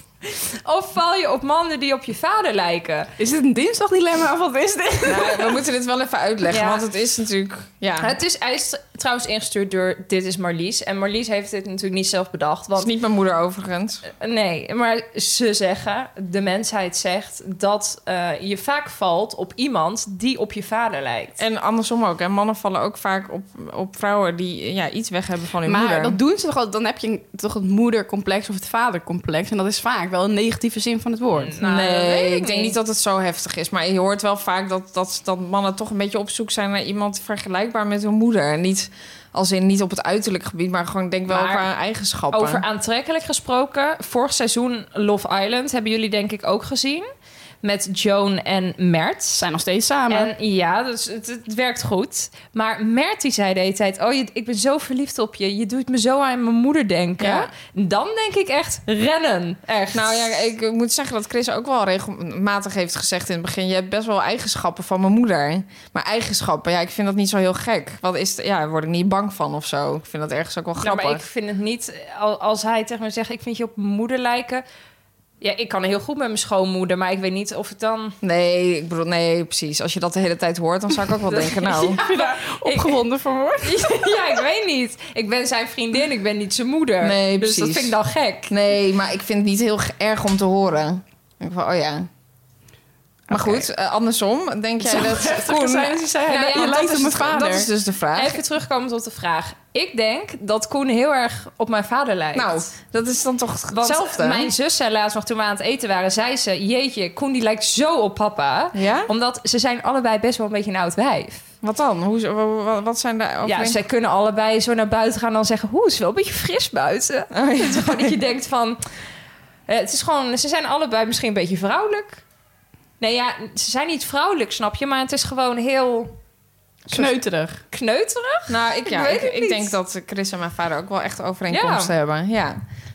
of val je op mannen die op je vader lijken? Is dit een dinsdagdilemma of wat is dit? Nou, we moeten dit wel even uitleggen, Ja. want het is natuurlijk... Ja, het Het is, hij is trouwens ingestuurd door Dit is Marlies. En Marlies heeft dit natuurlijk niet zelf bedacht. is Want niet mijn moeder overigens. Nee, maar ze zeggen, de mensheid zegt dat eh, je vaak valt op iemand die op je vader lijkt. En andersom ook, hè. Mannen vallen ook vaak op, op vrouwen die ja, iets weg hebben van hun Maar moeder. dat doen ze toch al, dan heb je een- toch het moedercomplex of het vadercomplex. En dat is vaak wel een negatieve zin van het woord. Nou, dat weet nee, ik ik denk niet. niet dat het zo heftig is. Maar je hoort wel vaak dat, dat, dat mannen toch een beetje op zoek zijn naar iemand vergelijkbaar met hun moeder. En niet als in niet op het uiterlijk gebied, maar gewoon denk wel Maar qua eigenschappen. Over aantrekkelijk gesproken, vorig seizoen Love Island hebben jullie denk ik ook gezien. Met Joan en Ze Mert. zijn nog steeds Ah, samen. En ja, dus het, het werkt goed. Maar Mert die zei de hele tijd... Oh, je, ik ben zo verliefd op je. Je doet me zo aan mijn moeder denken. Ja. Dan denk ik echt rennen. Echt. Nou ja, ik moet zeggen dat Chris ook wel regelmatig heeft gezegd in het begin... je hebt best wel eigenschappen van mijn moeder. Maar eigenschappen, ja, ik vind dat niet zo heel gek. Wat is, ja, daar word ik niet bang van of zo. Ik vind dat ergens ook wel Nou, grappig. maar ik vind het niet... al- Als hij tegen me zegt, ik vind je op mijn moeder lijken... Ja, ik kan heel goed met mijn schoonmoeder, maar ik weet niet of het dan... Nee, ik bedoel, nee, precies. Als je dat de hele tijd hoort, dan zou ik ook wel denken... nou, Opgewonden voor woord. ja, ik weet niet. Ik ben zijn vriendin, ik ben niet zijn moeder. Nee, dus dat precies. vind ik dan gek. nee, maar ik vind het niet heel ge- erg om te horen. Ik denk van, oh ja... Maar Oké. goed, eh, andersom, denk jij dat... Koen, zijn ze zei, Nou ja, je dat is lijkt op mijn het- dat vader. dat is dus de vraag. Even terugkomen op de vraag. Ik denk dat Koen heel erg op mijn vader lijkt. Nou, dat is dan toch Want hetzelfde? mijn zus zei laatst nog toen we aan het eten waren... zei ze, jeetje, Koen die lijkt zo op papa. Ja? Omdat ze zijn allebei best wel een beetje een oud wijf. Wat dan? Hoe, wa- wa- wat zijn de Ja, overeenkomsten? zij kunnen allebei zo naar buiten gaan en dan zeggen... hoe, is wel een beetje fris buiten. Oh, Het is gewoon dat je denkt van... eh, Het is gewoon, ze zijn allebei misschien een beetje vrouwelijk. Nee, ja, ze zijn niet vrouwelijk, snap je? Maar het is gewoon heel Kneuterig. kneuterig. Nou, ik, ja, Ik weet ik, het ik niet. denk dat Chris en mijn vader ook wel echt overeenkomsten hebben. Ja.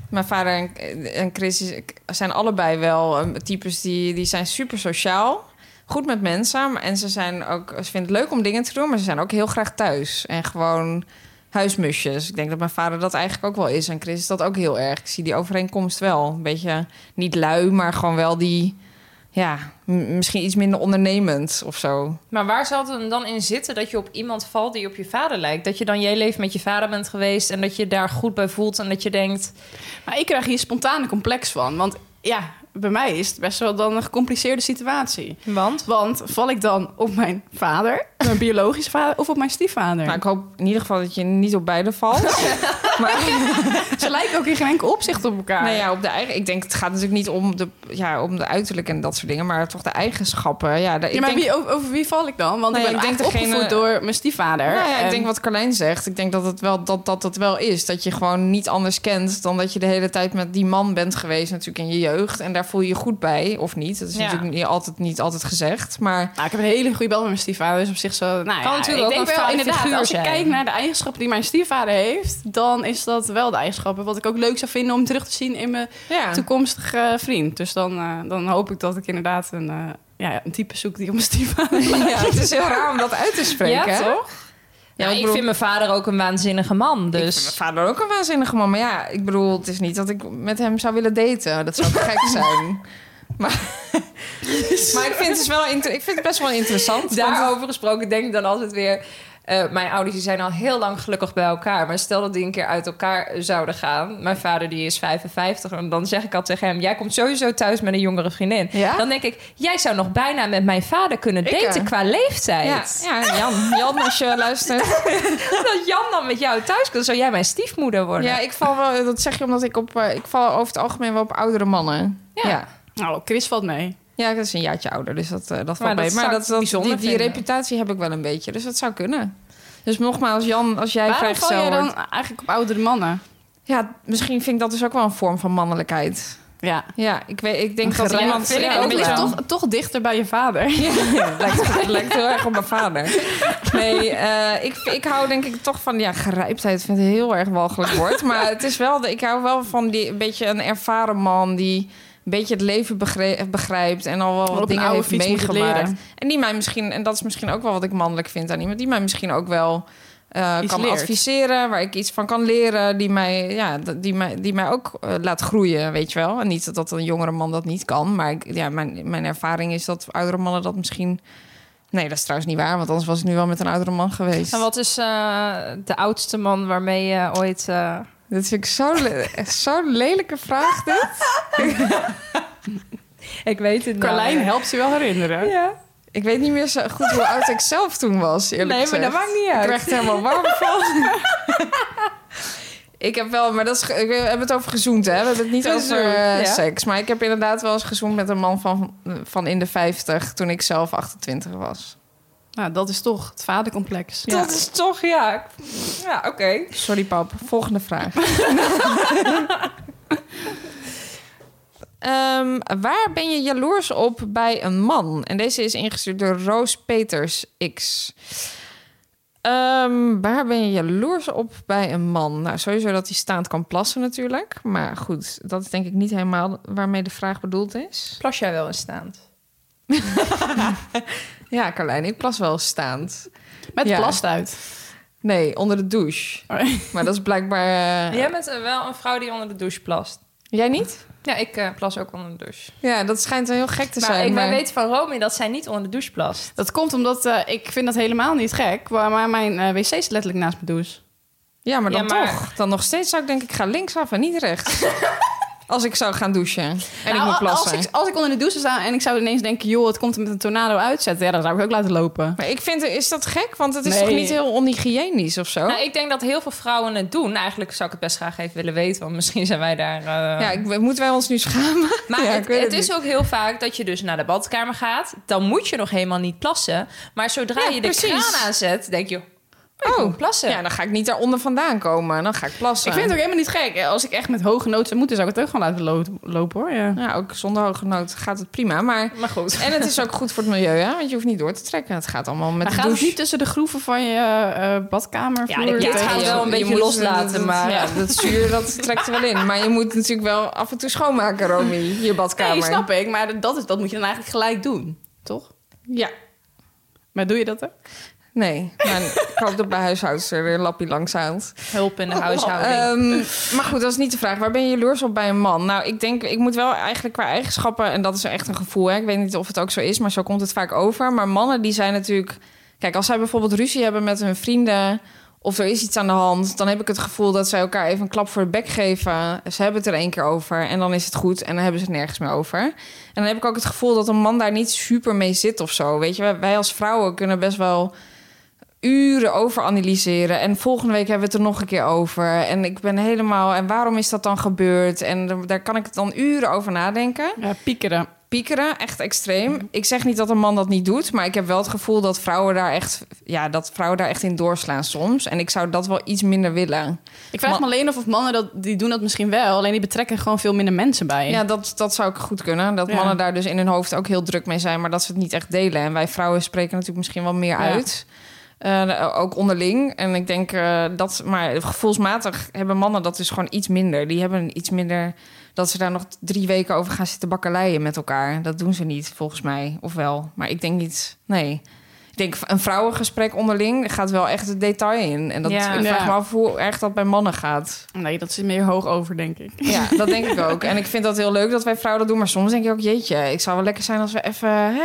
Mijn vader en, en Chris is- zijn allebei wel eh, types die, die zijn super sociaal. Goed met mensen. maar- En ze, zijn ook, ze vinden het leuk om dingen te doen, maar ze zijn ook heel graag thuis. En gewoon huismusjes. Ik denk dat mijn vader dat eigenlijk ook wel is. En Chris is dat ook heel erg. Ik zie die overeenkomst wel. Een beetje niet lui, maar gewoon wel die... Ja, m- misschien iets minder ondernemend of zo. Maar waar zal het hem dan in zitten dat je op iemand valt die op je vader lijkt? Dat je dan je leven met je vader bent geweest en dat je daar goed bij voelt en dat je denkt... Maar ik krijg hier spontaan een complex van. Want ja, bij mij is het best wel dan een gecompliceerde situatie. Want? Want val ik dan op mijn vader, mijn biologische vader of op mijn stiefvader? Nou, ik hoop in ieder geval dat je niet op beide valt. Ze lijken ook in geen enkel opzicht op elkaar. Nou ja, op de eigen, ik denk, het gaat natuurlijk niet om de, ja, om de uiterlijk en dat soort dingen, maar toch de eigenschappen. Ja, de- ik Ja, maar denk, wie, over, over wie val ik dan? Want Nee, ik ben ik denk eigenlijk opgevoed degene- door mijn stiefvader. Nou ja, En- ik denk wat Carlijn zegt. Ik denk dat het wel, dat, dat het wel is. Dat je gewoon niet anders kent dan dat je de hele tijd met die man bent geweest, natuurlijk in je jeugd. En daar voel je je goed bij, of niet. Dat is Ja. natuurlijk niet altijd, niet altijd gezegd. Maar Nou, ik heb een hele goede band met mijn stiefvader. Dus op zich zo... Nou ja, natuurlijk ik ook denk een wel, vaderfiguur inderdaad, als ik zijn. kijk naar de eigenschappen die mijn stiefvader heeft... dan is dat wel de eigenschappen. Wat ik ook leuk zou vinden om terug te zien in mijn ja, toekomstige vriend. Dus dan, eh, dan hoop ik dat ik inderdaad een, eh, ja, een type zoek die op mijn stiefvader lijkt. ja, het is heel raar om dat uit te spreken. Ja, hè? toch? Ja, ik ik, bedoel- vind mijn vader ook een waanzinnige man, Ik dus... vind mijn vader ook een waanzinnige man. Maar ja, ik bedoel, het is niet dat ik met hem zou willen daten. Dat zou gek zijn. Maar, maar ik, vind het dus wel inter- ik vind het best wel interessant. want- Daarover gesproken denk ik dan altijd weer... eh, mijn ouders die zijn al heel lang gelukkig bij elkaar. Maar stel dat die een keer uit elkaar zouden gaan. Mijn vader die is 55. En dan zeg ik al tegen hem... Jij komt sowieso thuis met een jongere vriendin. Ja? Dan denk ik... Jij zou nog bijna met mijn vader kunnen Ik, daten eh, qua ja, leeftijd. ja, Jan. Jan, als je luistert. Dat Jan dan met jou thuis komt. Zou jij mijn stiefmoeder worden? Ja, ik val wel, dat zeg je omdat ik op, eh, ik val over het algemeen wel op oudere mannen. Ja. ja. Nou, Chris valt mee. Ja, dat is een jaartje ouder, dus dat, eh, dat Maar valt dat mee. Maar zou dat, ik dat, bijzonder die, die vinden. reputatie heb ik wel een beetje, dus dat zou kunnen. Dus nogmaals, Jan, als jij Waarom val vrijgezel jij dan wordt... eigenlijk op oudere mannen? Ja, misschien vind ik dat dus ook wel een vorm van mannelijkheid. ja. Ja, ik, weet, ik denk dat iemand... vind ik ja, ook en een het ligt beetje- toch, toch dichter bij je vader. Ja, het lijkt, het lijkt heel erg op mijn vader. Nee, eh, ik, ik hou denk ik toch van... Ja, gerijptheid vind ik een heel erg walgelijk woord. Maar het is wel... de- Ik hou wel van die, een beetje een ervaren man die een beetje het leven begre- begrijpt... en al wel Op een wat dingen oude heeft fiets moet het meegemaakt. leren. En die mij misschien... En dat is misschien ook wel wat ik mannelijk vind aan iemand... die mij misschien ook wel... eh, Iets kan leert. adviseren, waar ik iets van kan leren, die mij, ja, d- die mij, die mij ook eh, laat groeien, weet je wel. En niet dat een jongere man dat niet kan, maar ik, ja, mijn, mijn ervaring is dat oudere mannen dat misschien. Nee, dat is trouwens niet waar, want anders was ik nu wel met een oudere man geweest. En wat is eh, de oudste man waarmee je ooit... eh, Dit vind ik zo le- echt zo'n lelijke vraag. Dit. Ik weet het niet. Carlijn helpt je wel herinneren. Ja. Ik weet niet meer zo goed hoe oud ik zelf toen was. Eerlijk Nee, maar gezegd. dat maakt niet Ik uit. werd helemaal warm van. ik heb wel, maar dat is, ge- ik- we hebben het over gezoend, hè? We hebben het niet over Gezoend, eh, ja. seks. Maar ik heb inderdaad wel eens gezoend met een man van, van in de 50 toen ik zelf 28 was. Nou, dat is toch het vadercomplex. Ja. Dat is toch, ja. Ja, oké. Sorry, pap. Volgende vraag. Ehm, waar ben je jaloers op bij een man? En deze is ingestuurd door Roos Peters X. Ehm, waar ben je jaloers op bij een man? Nou, sowieso dat hij staand kan plassen natuurlijk. Maar goed, dat is denk ik niet helemaal waarmee de vraag bedoeld is. Plas jij wel eens staand? Ja, Carlijn, ik plas wel staand. Met Ja. plast uit. Nee, onder de douche. Maar dat is blijkbaar... eh, Jij bent eh, wel een vrouw die onder de douche plast. Jij niet? Ja, ik eh, plas ook onder de douche. Ja, dat schijnt heel gek te maar zijn. ik weet van Romy dat zij niet onder de douche plast. Dat komt omdat eh, ik vind dat helemaal niet gek. Maar maar mijn eh, wc is letterlijk naast mijn douche. Ja, maar dan Ja, maar- toch. Dan nog steeds zou ik denk ik ga linksaf en niet rechts. als ik zou gaan douchen en ik Nou, moet als plassen. ik, als ik onder de douche sta en ik zou ineens denken... joh, het komt er met een tornado uitzetten. Ja, dan zou ik ook laten lopen. Maar ik vind, is dat gek? Want het is Nee. toch niet heel onhygiënisch of zo? Nou, ik denk dat heel veel vrouwen het doen. Nou, Eigenlijk zou ik het best graag even willen weten, want misschien zijn wij daar. eh, ja, ik, moeten wij ons nu schamen? Maar Ja, ik het, weet het het is ook heel vaak dat je dus naar de badkamer gaat. Dan moet je nog helemaal niet plassen. Maar zodra Ja, je de precies. kraan aanzet, denk je... Oh, plassen. Ja, dan ga ik niet daaronder vandaan komen. Dan ga ik plassen. Ik vind het ook helemaal niet gek. Als ik echt met hoge nood zou moeten, zou ik het ook gewoon laten lo- lopen hoor. Ja. Ja, ook zonder hoge nood gaat het prima. Maar... Maar goed. En het is ook goed voor het milieu, hè? Want je hoeft niet door te trekken. Het gaat allemaal met Maar de gaat het douche. niet tussen de groeven van je eh badkamer? eh, Ja, dit- dit Ja, gaat je- wel een je beetje moet- loslaten, dat- maar- Ja, dat zuur, dat trekt er wel in. Maar je moet natuurlijk wel af en toe schoonmaken, Romy. Je badkamer. Nee, snap ik. Maar dat, is, dat moet je dan eigenlijk gelijk doen, toch? Ja, Maar doe je dat ook? Nee, maar ik hoop dat bij huishoudens er weer een lappie langs haalt. Hulp Oh, in de huishouding. Ehm, maar goed, dat is niet de vraag. Waar ben je jaloers op bij een man? Nou, ik denk, ik moet wel eigenlijk qua eigenschappen... en dat is echt een gevoel, hè? ik weet niet of het ook zo is... maar zo komt het vaak over. Maar mannen die zijn natuurlijk... Kijk, als zij bijvoorbeeld ruzie hebben met hun vrienden... of er is iets aan de hand... dan heb ik het gevoel dat zij elkaar even een klap voor de bek geven. Ze hebben het er één keer over en dan is het goed... en dan hebben ze het nergens meer over. En dan heb ik ook het gevoel dat een man daar niet super mee zit of zo. Weet je, wij- wij als vrouwen kunnen best wel uren over analyseren. En volgende week hebben we het er nog een keer over. En ik ben helemaal. En waarom is dat dan gebeurd? En er- daar kan ik dan uren over nadenken. Ja, piekeren. Piekeren, echt extreem. Ik zeg niet dat een man dat niet doet, maar ik heb wel het gevoel dat vrouwen daar echt, ja, dat vrouwen daar echt in doorslaan soms. En ik zou dat wel iets minder willen. Ik vraag Man- me alleen of, of mannen dat, die doen dat misschien wel. Alleen die betrekken gewoon veel minder mensen bij. Ja, dat, dat zou ik goed kunnen. Dat Ja. mannen daar dus in hun hoofd ook heel druk mee zijn, maar dat ze het niet echt delen. En wij vrouwen spreken natuurlijk misschien wel meer Ja. uit. Eh, ook onderling. En ik denk eh, dat, maar gevoelsmatig hebben mannen dat dus gewoon iets minder. Die hebben iets minder dat ze daar nog drie weken over gaan zitten bakkeleien met elkaar. Dat doen ze niet, volgens mij. Of wel. Maar ik denk niet, nee. Ik denk een vrouwengesprek onderling gaat wel echt het detail in. En dat, Ja. ik vraag Ja. me af hoe erg dat bij mannen gaat. Nee, dat is meer hoog over, denk ik. Ja, dat denk ik ook. En ik vind dat heel leuk dat wij vrouwen dat doen. Maar soms denk ik ook, jeetje, ik zou wel lekker zijn als we even... Hè?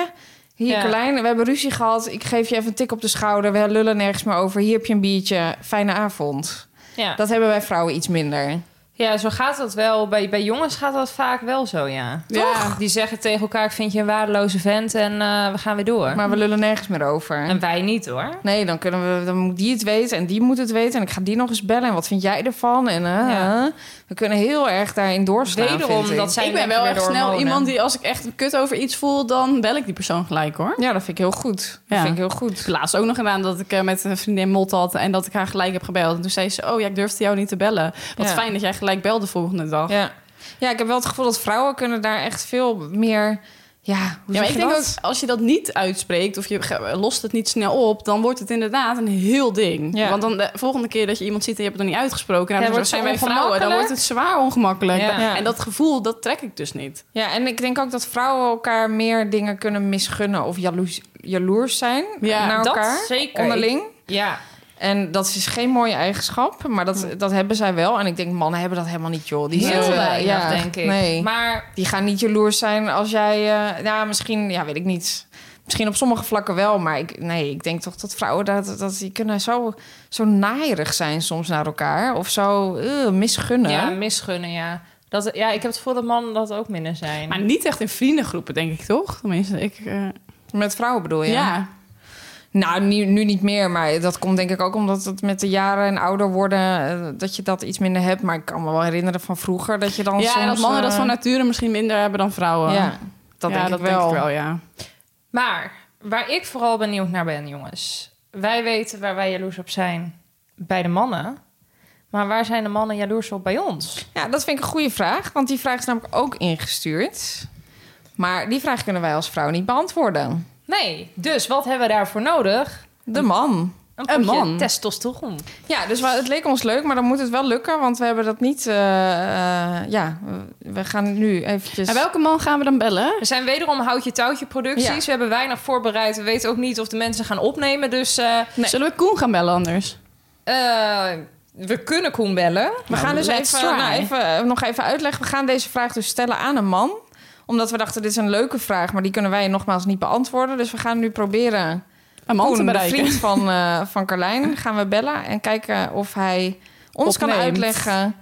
Hier, Ja. Carlijn, we hebben ruzie gehad. Ik geef je even een tik op de schouder. We lullen nergens meer over. Hier heb je een biertje. Fijne avond. ja. Dat hebben wij vrouwen iets minder. ja, zo gaat dat wel. Bij, bij jongens gaat dat vaak wel zo, ja. Ja. Die zeggen tegen elkaar, ik vind je een waardeloze vent en eh, we gaan weer door. Maar we lullen nergens meer over. En wij niet, hoor. Nee, dan kunnen we, dan moet die het weten en die moet het weten. En ik ga die nog eens bellen. En wat vind jij ervan? En eh, Ja. eh. we kunnen heel erg daarin doorslaan. Wederom vind ik. dat zij ik ben lekker wel weer echt door snel hormonen. iemand die als ik echt een kut over iets voel, dan bel ik die persoon gelijk hoor. Ja, dat vind ik heel goed. Dat Ja. vind ik heel goed. Ik heb laatst ook nog gedaan dat ik eh, met een vriendin mot had en dat ik haar gelijk heb gebeld. En toen zei ze, oh ja, ik durfde jou niet te bellen. Wat Ja. fijn dat jij gelijk belde volgende dag. Ja. Ja, ik heb wel het gevoel dat vrouwen kunnen daar echt veel meer... Ja, hoe Ja, maar zeg ik je denk ook, dat? als je dat niet uitspreekt of je ge- lost het niet snel op, dan wordt het inderdaad een heel ding. Ja. Want dan de volgende keer dat je iemand ziet en je hebt het nog niet uitgesproken, dan Ja, hebben ze wordt zo het zijn zo wij vrouwen, dan wordt ongemakkelijk. het zwaar ongemakkelijk. Ja. Ja. En dat gevoel, dat trek ik dus niet. Ja, en ik denk ook dat vrouwen elkaar meer dingen kunnen misgunnen of jaloers, jaloers zijn eh, Ja, naar dat elkaar zeker. onderling. Ja, En dat is geen mooie eigenschap, maar dat, dat hebben zij wel. En ik denk, mannen hebben dat helemaal niet, joh. Die Hmm. heel zitten- weinig, ja, denk ik. Nee. Maar Die gaan niet jaloers zijn als jij... eh, ja, misschien, ja, weet ik niet. Misschien op sommige vlakken wel, maar ik, nee, ik denk toch dat vrouwen... Dat, dat, die kunnen zo, zo naaierig zijn soms naar elkaar. Of zo eh, misgunnen. ja, misgunnen, ja. Dat, ja, ik heb het gevoel dat mannen dat ook minder zijn. Maar niet echt in vriendengroepen, denk ik toch? Tenminste, ik. eh, Met vrouwen bedoel je? ja. Nou, nu, nu niet meer, maar dat komt denk ik ook omdat het met de jaren en ouder worden... eh, dat je dat iets minder hebt. Maar ik kan me wel herinneren van vroeger dat je dan Ja, en dat soms, mannen dat eh, van nature misschien minder hebben dan vrouwen. Ja, dat, Ja, denk, ik wel. Dus- ja. Maar waar ik vooral benieuwd naar ben, jongens. Wij weten waar wij jaloers op zijn bij de mannen. Maar waar zijn de mannen jaloers op bij ons? Ja, dat vind ik een goede vraag, want die vraag is namelijk ook ingestuurd. Maar die vraag kunnen wij als vrouw niet beantwoorden. Nee, dus wat hebben we daarvoor nodig? De man. Een, Een potje man. testosteron. Ja, dus wa- het leek ons leuk, maar dan moet het wel lukken, want we hebben dat niet. eh, eh, ja, we gaan nu eventjes. En welke man gaan we dan bellen? We zijn wederom houtje touwtje producties. Ja. We hebben weinig voorbereid. We weten ook niet of de mensen gaan opnemen. Dus eh, Zullen we Koen gaan bellen anders? eh, we kunnen Koen bellen. We gaan dus Let's even, try. nou, even, eh, nog even uitleggen. We gaan deze vraag dus stellen aan een man. Omdat we dachten, dit is een leuke vraag, maar die kunnen wij nogmaals niet beantwoorden. Dus we gaan nu proberen Een man te Koen, de bereiken. vriend van, eh, van Carlijn, gaan we bellen en kijken of hij ons kan Opneemt. uitleggen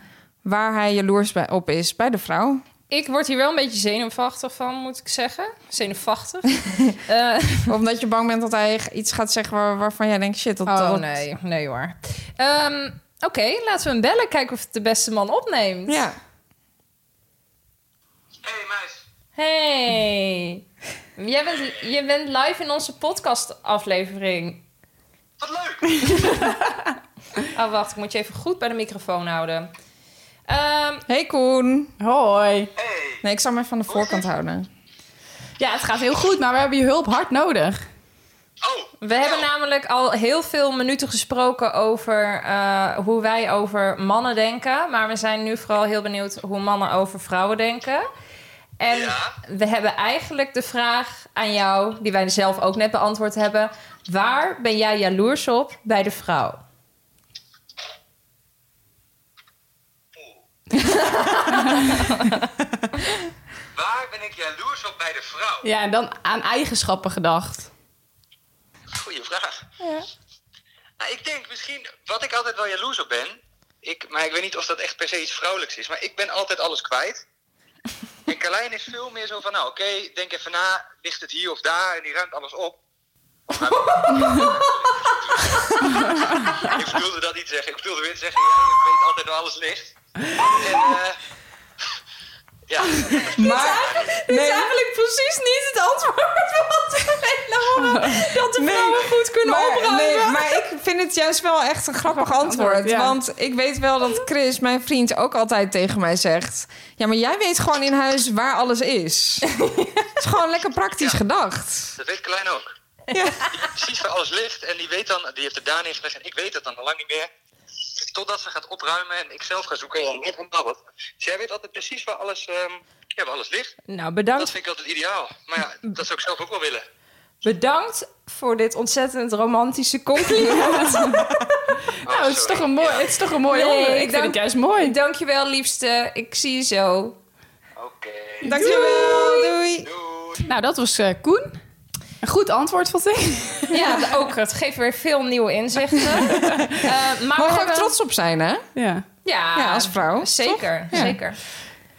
waar hij jaloers bij, op is bij de vrouw. Ik word hier wel een beetje zenuwachtig van, moet ik zeggen. Zenuwachtig. Oh, Eh, Omdat je bang bent dat hij iets gaat zeggen waar- waarvan jij denkt, shit, dat... oh dat- nee, nee hoor. Ehm, Oké, laten we hem bellen. Kijken of het de beste man opneemt. Ja. Hey meis, Hey. Jij bent, je bent live in onze podcastaflevering. wat leuk! Oh, wacht. Ik moet je even goed bij de microfoon houden. Ehm, Hey Koen. Hoi. Hey, Nee, ik zal hem even aan de voorkant houden. Ja, het gaat heel goed, maar we hebben je hulp hard nodig. oh, we hebben Nou. namelijk al heel veel minuten gesproken over eh, hoe wij over mannen denken. Maar we zijn nu vooral heel benieuwd hoe mannen over vrouwen denken. En Ja. we hebben eigenlijk de vraag aan jou, die wij zelf ook net beantwoord hebben. Waar ben jij jaloers op bij de vrouw? waar ben ik jaloers op bij de vrouw? Ja, en dan aan eigenschappen gedacht. Goeie vraag. Nou, ik denk misschien, wat ik altijd wel jaloers op ben, ik, maar ik weet niet of dat echt per se iets vrouwelijks is, maar ik ben altijd alles kwijt. En Carlijn is veel meer zo van, nou oké, denk even na, ligt het hier of daar en die ruimt alles op. ik bedoelde dat niet te zeggen. Ik bedoelde weer te zeggen, ja, ik weet altijd waar alles ligt. En, eh, ja, Maar, Dit is eigenlijk precies niet het antwoord wat we willen horen. Dat de vrouwen goed kunnen maar, opruimen. nee, maar ik vind het juist wel echt een grappig antwoord. ja. Want ik weet wel dat Chris, mijn vriend, ook altijd tegen mij zegt... Ja, maar jij weet gewoon in huis waar alles is. Het is gewoon lekker praktisch gedacht. Dat weet Klein ook. Die weet precies waar alles ligt en die weet dan, die heeft het daar neergelegd en ik weet het dan al lang niet meer. Totdat ze gaat opruimen en ik zelf ga zoeken en ik ontbabbelt. Dus jij weet altijd precies waar alles, ehm, ja, waar alles ligt. Nou, Dat bedankt, vind ik altijd ideaal. Maar ja, dat zou ik zelf ook wel willen. bedankt voor dit ontzettend romantische compliment. Ah, Oh, Nou, het is toch een mooi, het is toch een mooi Nee, onderwerp. Ik dank- vind het juist mooi. Dankjewel, liefste. Ik zie je zo. Oké. Dankjewel, doei. Doei. Nou, dat was eh, Koen. Een goed antwoord, vond ik. Ja, ook. Het geeft weer veel nieuwe inzichten. Eh, maar we Mag ik ook hebben- trots op zijn, hè? Ja. Ja, Ja, als vrouw. Zeker, Ja. zeker.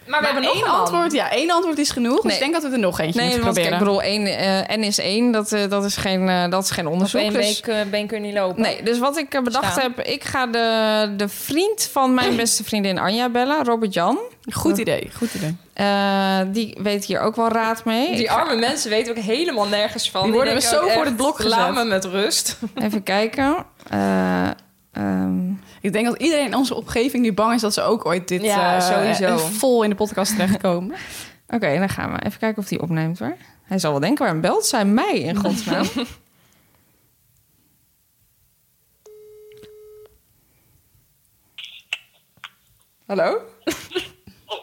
Maar we Maar hebben nog één een man. antwoord, ja, één antwoord is genoeg. Dus Nee. ik denk dat we er nog eentje Nee, moeten want kijk, ik proberen. bedoel, één, eh, N is één, dat, eh, dat, is geen, eh, dat is geen Op onderzoek. één eh, dus- been, kun- been kun je niet lopen. Nee, dus wat ik eh, bedacht Staan. heb, ik ga de, de vriend van mijn beste vriendin Anja bellen, Robert Jan. Goed idee, goed idee. Eh, die weet hier ook wel raad mee. Die arme mensen weten ook helemaal nergens van. Die worden denken we zo ook voor echt, het blok Laat gezet." me met rust. Even kijken. Eh, ehm, Ik denk dat iedereen in onze omgeving nu bang is dat ze ook ooit dit Ja, eh, sowieso. vol in de podcast terechtkomen. Oké, dan gaan we even kijken of hij opneemt hoor. Hij zal wel denken, waarom belt zij mij in godsnaam? Hallo? Oh,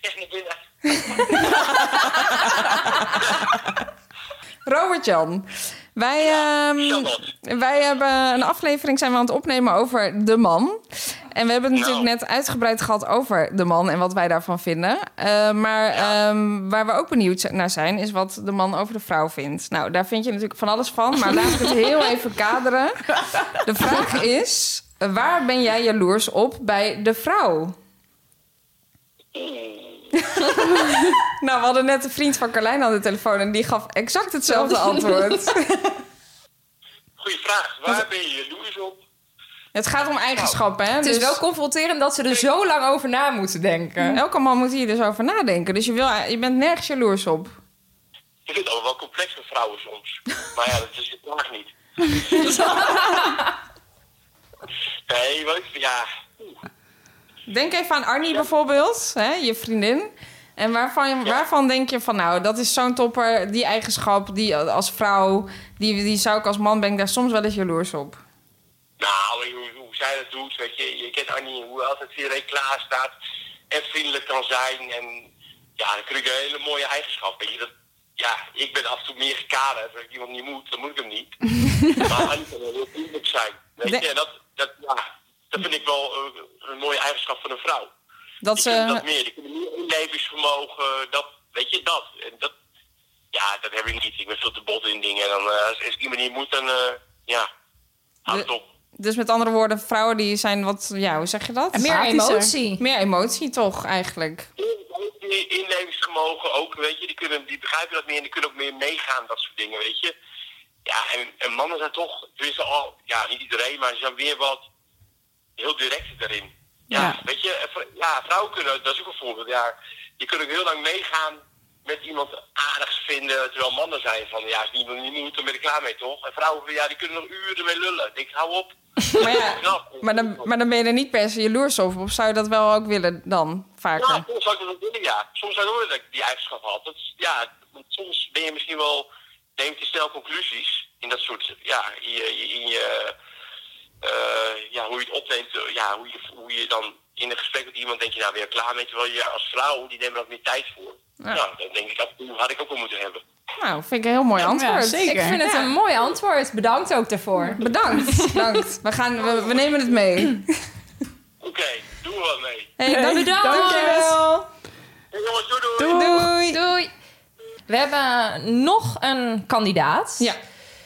echt naar binnen. Robert-Jan. Wij, ehm, Robert. wij hebben een aflevering zijn we aan het opnemen over de man. En we hebben het Nou. natuurlijk net uitgebreid gehad over de man en wat wij daarvan vinden. Eh, maar ehm, waar we ook benieuwd zi- naar zijn, is wat de man over de vrouw vindt. Nou, daar vind je natuurlijk van alles van, maar laat ik het heel even kaderen. De vraag is, waar ben jij jaloers op bij de vrouw? Nou, we hadden net een vriend van Carlijn aan de telefoon en die gaf exact hetzelfde antwoord. Goeie vraag. Waar ben je jaloers op? Het gaat om eigenschappen, hè? Het is Dus wel confronterend dat ze er zo lang over na moeten denken. elke man moet hier dus over nadenken. Dus je, wil, je bent nergens jaloers op. Ik vind het allemaal wel complexe vrouwen soms. Maar ja, dat is je vraag niet. nee, wat, ja. Denk even aan Arnie bijvoorbeeld, hè? je vriendin. En waarvan, waarvan denk je van, nou, dat is zo'n topper, die eigenschap, die als vrouw, die, die zou ik als man ben ik daar soms wel eens jaloers op. Nou, hoe, hoe zij dat doet, weet je. Je kent Annie, hoe altijd iedereen klaar staat en vriendelijk kan zijn. En ja, dan krijg je een hele mooie eigenschap, weet je. Dat, ja, ik ben af en toe meer gekaderd. Als ik iemand niet moet, dan moet ik hem niet. maar Annie kan wel heel vriendelijk zijn, weet De- je. En dat, dat, ja, dat vind ik wel eh, een mooie eigenschap van een vrouw. Dat Die kunnen ze, dat meer. Die kunnen meer inlevingsvermogen. Dat, weet je, dat. En dat. Ja, dat heb ik niet. Ik ben veel te bot in dingen. En dan, eh, als, als ik iemand niet moet, dan... eh, ja, houd het De- op. dus met andere woorden, vrouwen die zijn wat, ja, hoe zeg je dat? Meer Empathischer. emotie. Meer emotie toch, eigenlijk. Die Inlevingsvermogen ook, weet je. Die, kunnen, die begrijpen dat meer en die kunnen ook meer meegaan. Dat soort dingen, weet je. Ja, en, en mannen zijn toch... Tenminste al... Ja, niet iedereen, maar ze zijn weer wat... Heel direct daarin. Ja, Ja. weet je. eh, vr- Ja, vrouwen kunnen... Dat is ook een voorbeeld, ja. Je kunt ook heel lang meegaan met iemand aardigs vinden... Terwijl mannen zijn van... Ja, als iemand niet moet, dan ben ik klaar mee, toch? En vrouwen, ja, die kunnen nog uren mee lullen. Ik denk, hou op. Maar, ja, maar, dan, maar dan ben je er niet per se jaloers op. Of zou je dat wel ook willen dan, Ja, vaker? soms zou ik dat ook willen, ja. Soms zou ik ook willen dat ik die eigenschap had. Dat is, ja, want soms ben je misschien wel, neem je snel conclusies in dat soort, ja, in je, in je eh, ja, hoe je het opneemt, eh, ja, hoe je, hoe je dan in een gesprek met iemand denk je, nou, weer klaar mee, terwijl je als vrouw, die neemt er ook meer tijd voor. Ja, dan denk ik, dat had ik ook wel moeten hebben. Nou, vind ik een heel mooi antwoord. Ja, zeker. Ik vind het een mooi antwoord. Bedankt ook daarvoor. Bedankt, bedankt. We, gaan, we, we nemen het mee. Oké, doen we wat mee. Hey, dank, Bedankt. Dankjewel. Hey, jongens, doei Doei. doei! Doei. We hebben nog een kandidaat. Ja.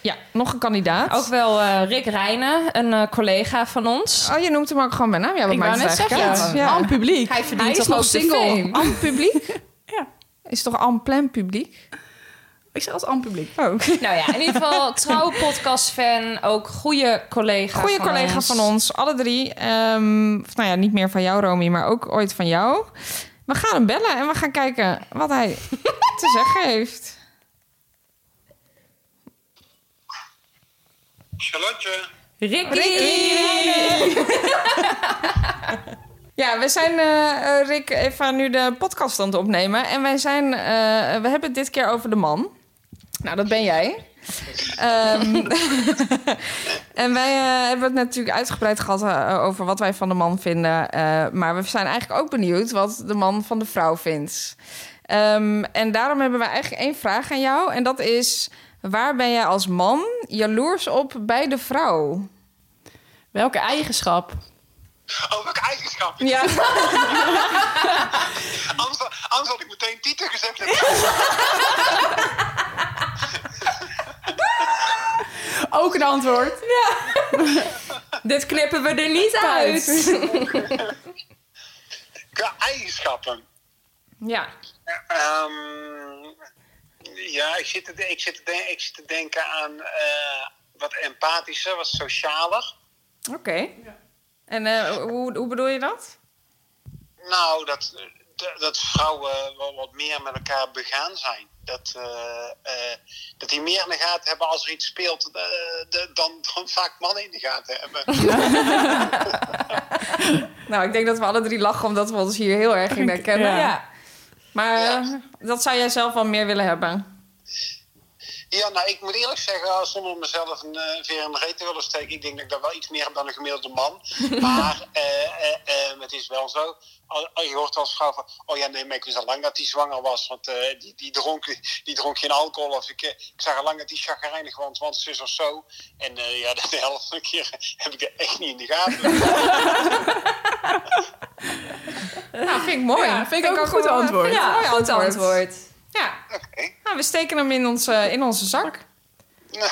ja, nog een kandidaat. Ook wel eh, Rick Rijnen, een eh, collega van ons. Oh, je noemt hem ook gewoon bij naam. Ja, wat Ik wou maakt net het zeggen, eigenlijk uit? aan het publiek. Hij verdient Hij is toch ook nog de single. fame? Am publiek? Ja. Is toch am plein publiek? Ik zeg als aan het publiek. Ook. Nou ja, in ieder geval trouw podcastfan. Ook goede collega Goeie van collega ons. van ons, alle drie. Ehm, of nou ja, niet meer van jou, Romy, maar ook ooit van jou. We gaan hem bellen en we gaan kijken wat hij te zeggen heeft. Charlotte, Ricky. Ja, we zijn, eh, eh, Rick, even nu de podcast aan het opnemen. En wij zijn, eh, we hebben het dit keer over de man. Nou, dat ben jij. Ehm, en wij eh, hebben het natuurlijk uitgebreid gehad eh, over wat wij van de man vinden. Eh, maar we zijn eigenlijk ook benieuwd wat de man van de vrouw vindt. Ehm, en daarom hebben we eigenlijk één vraag aan jou. En dat is, waar ben jij als man jaloers op bij de vrouw? Welke eigenschap? oh, welke eigenschap? Ja, Anders, anders had ik meteen Tieter gezegd. Ook een antwoord. Dit knippen we er niet uit. Qua eigenschappen. ja. Ehm, ja, ik zit, te, de- ik, zit te de- ik zit te denken aan eh, wat empathischer, wat socialer. Oké. En eh, hoe, hoe bedoel je dat? Nou, dat, dat vrouwen wel wat meer met elkaar begaan zijn. dat, eh, eh, dat die meer in de gaten hebben als er iets speelt eh, de- dan, dan vaak mannen in de gaten hebben. Nou, ik denk dat we alle drie lachen omdat we ons hier heel erg in herkennen. Ja. Ja. Maar Ja. eh, dat zou jij zelf wel meer willen hebben. Ja, nou, ik moet eerlijk zeggen, eh, zonder mezelf een eh, veer in de reet te willen steken, ik denk dat ik daar wel iets meer heb dan een gemiddelde man. Maar eh, eh, eh, het is wel zo. Al- al- je hoort wel eens gauw van, oh ja, nee, maar ik wist al lang dat hij zwanger was, want eh, die, die, dronk, die dronk geen alcohol. Of ik, eh, ik zag al lang dat hij chagrijnig was, want zus of zo. En eh, ja, de helft van de keer heb ik dat echt niet in de gaten. Nou, vind ik mooi. Ja, vind ik ook een wel- eh, goed antwoord. vind ik een mooi goed antwoord. Ja, Oké. nou, we steken hem in onze, in onze zak. Heel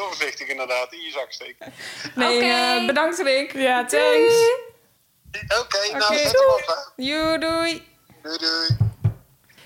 voorzichtig inderdaad, in je zak steken. Nee, Oké. eh, bedankt Rick. Ja, thanks. Oké, nou, Oké, zet hem op, hè. Joe, doei. Doei, doei.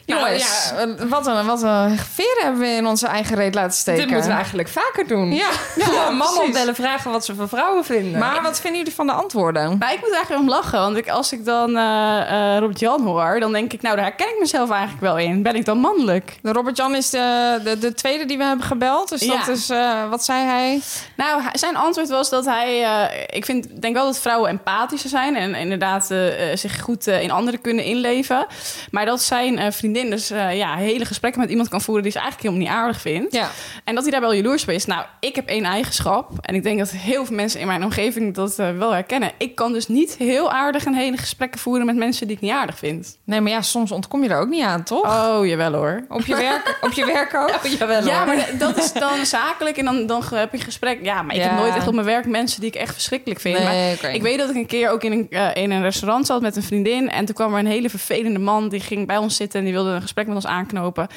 Jongens, ja, eh, wat, een, wat een veren hebben we in onze eigen reet laten steken. Dit moeten we eigenlijk vaker doen. Ja, Gewoon mannen precies. opbellen, vragen wat ze van vrouwen vinden. Maar wat vinden jullie van de antwoorden? Nou, ik moet er eigenlijk om lachen, want ik, als ik dan eh, eh, Robert Jan hoor, dan denk ik, nou, daar herken ik mezelf eigenlijk wel in. Ben ik dan mannelijk? De Robert-Jan is de, de, de tweede die we hebben gebeld. Dus dat Ja. is, eh, wat zei hij? Nou, hij- zijn antwoord was dat hij, eh, ik vind, denk wel dat vrouwen empathischer zijn en inderdaad eh, eh, zich goed eh, in anderen kunnen inleven. Maar dat zijn eh, vriendin dus eh, ja, hele gesprekken met iemand kan voeren die ze eigenlijk helemaal niet aardig vindt. Ja. En dat hij daar wel jaloers op is. Nou, ik heb één eigenschap. En ik denk dat heel veel mensen in mijn omgeving dat eh, wel herkennen. Ik kan dus niet heel aardig en hele gesprekken voeren met mensen die ik niet aardig vind. Nee, maar ja, soms ontkom je er ook niet aan, toch? Oh, jawel hoor. Op, je werk, op je werk ook? Ja, Ja, maar d- dat is dan zakelijk en dan, dan heb je gesprek. Ja, maar ik Ja. heb nooit echt op mijn werk mensen die ik echt verschrikkelijk vind. Nee, maar oké. ik weet dat ik een keer ook in een, eh, in een restaurant zat met een vriendin. En toen kwam er een hele vervelende man die ging bij ons zitten en die wilde een gesprek met ons aanknopen.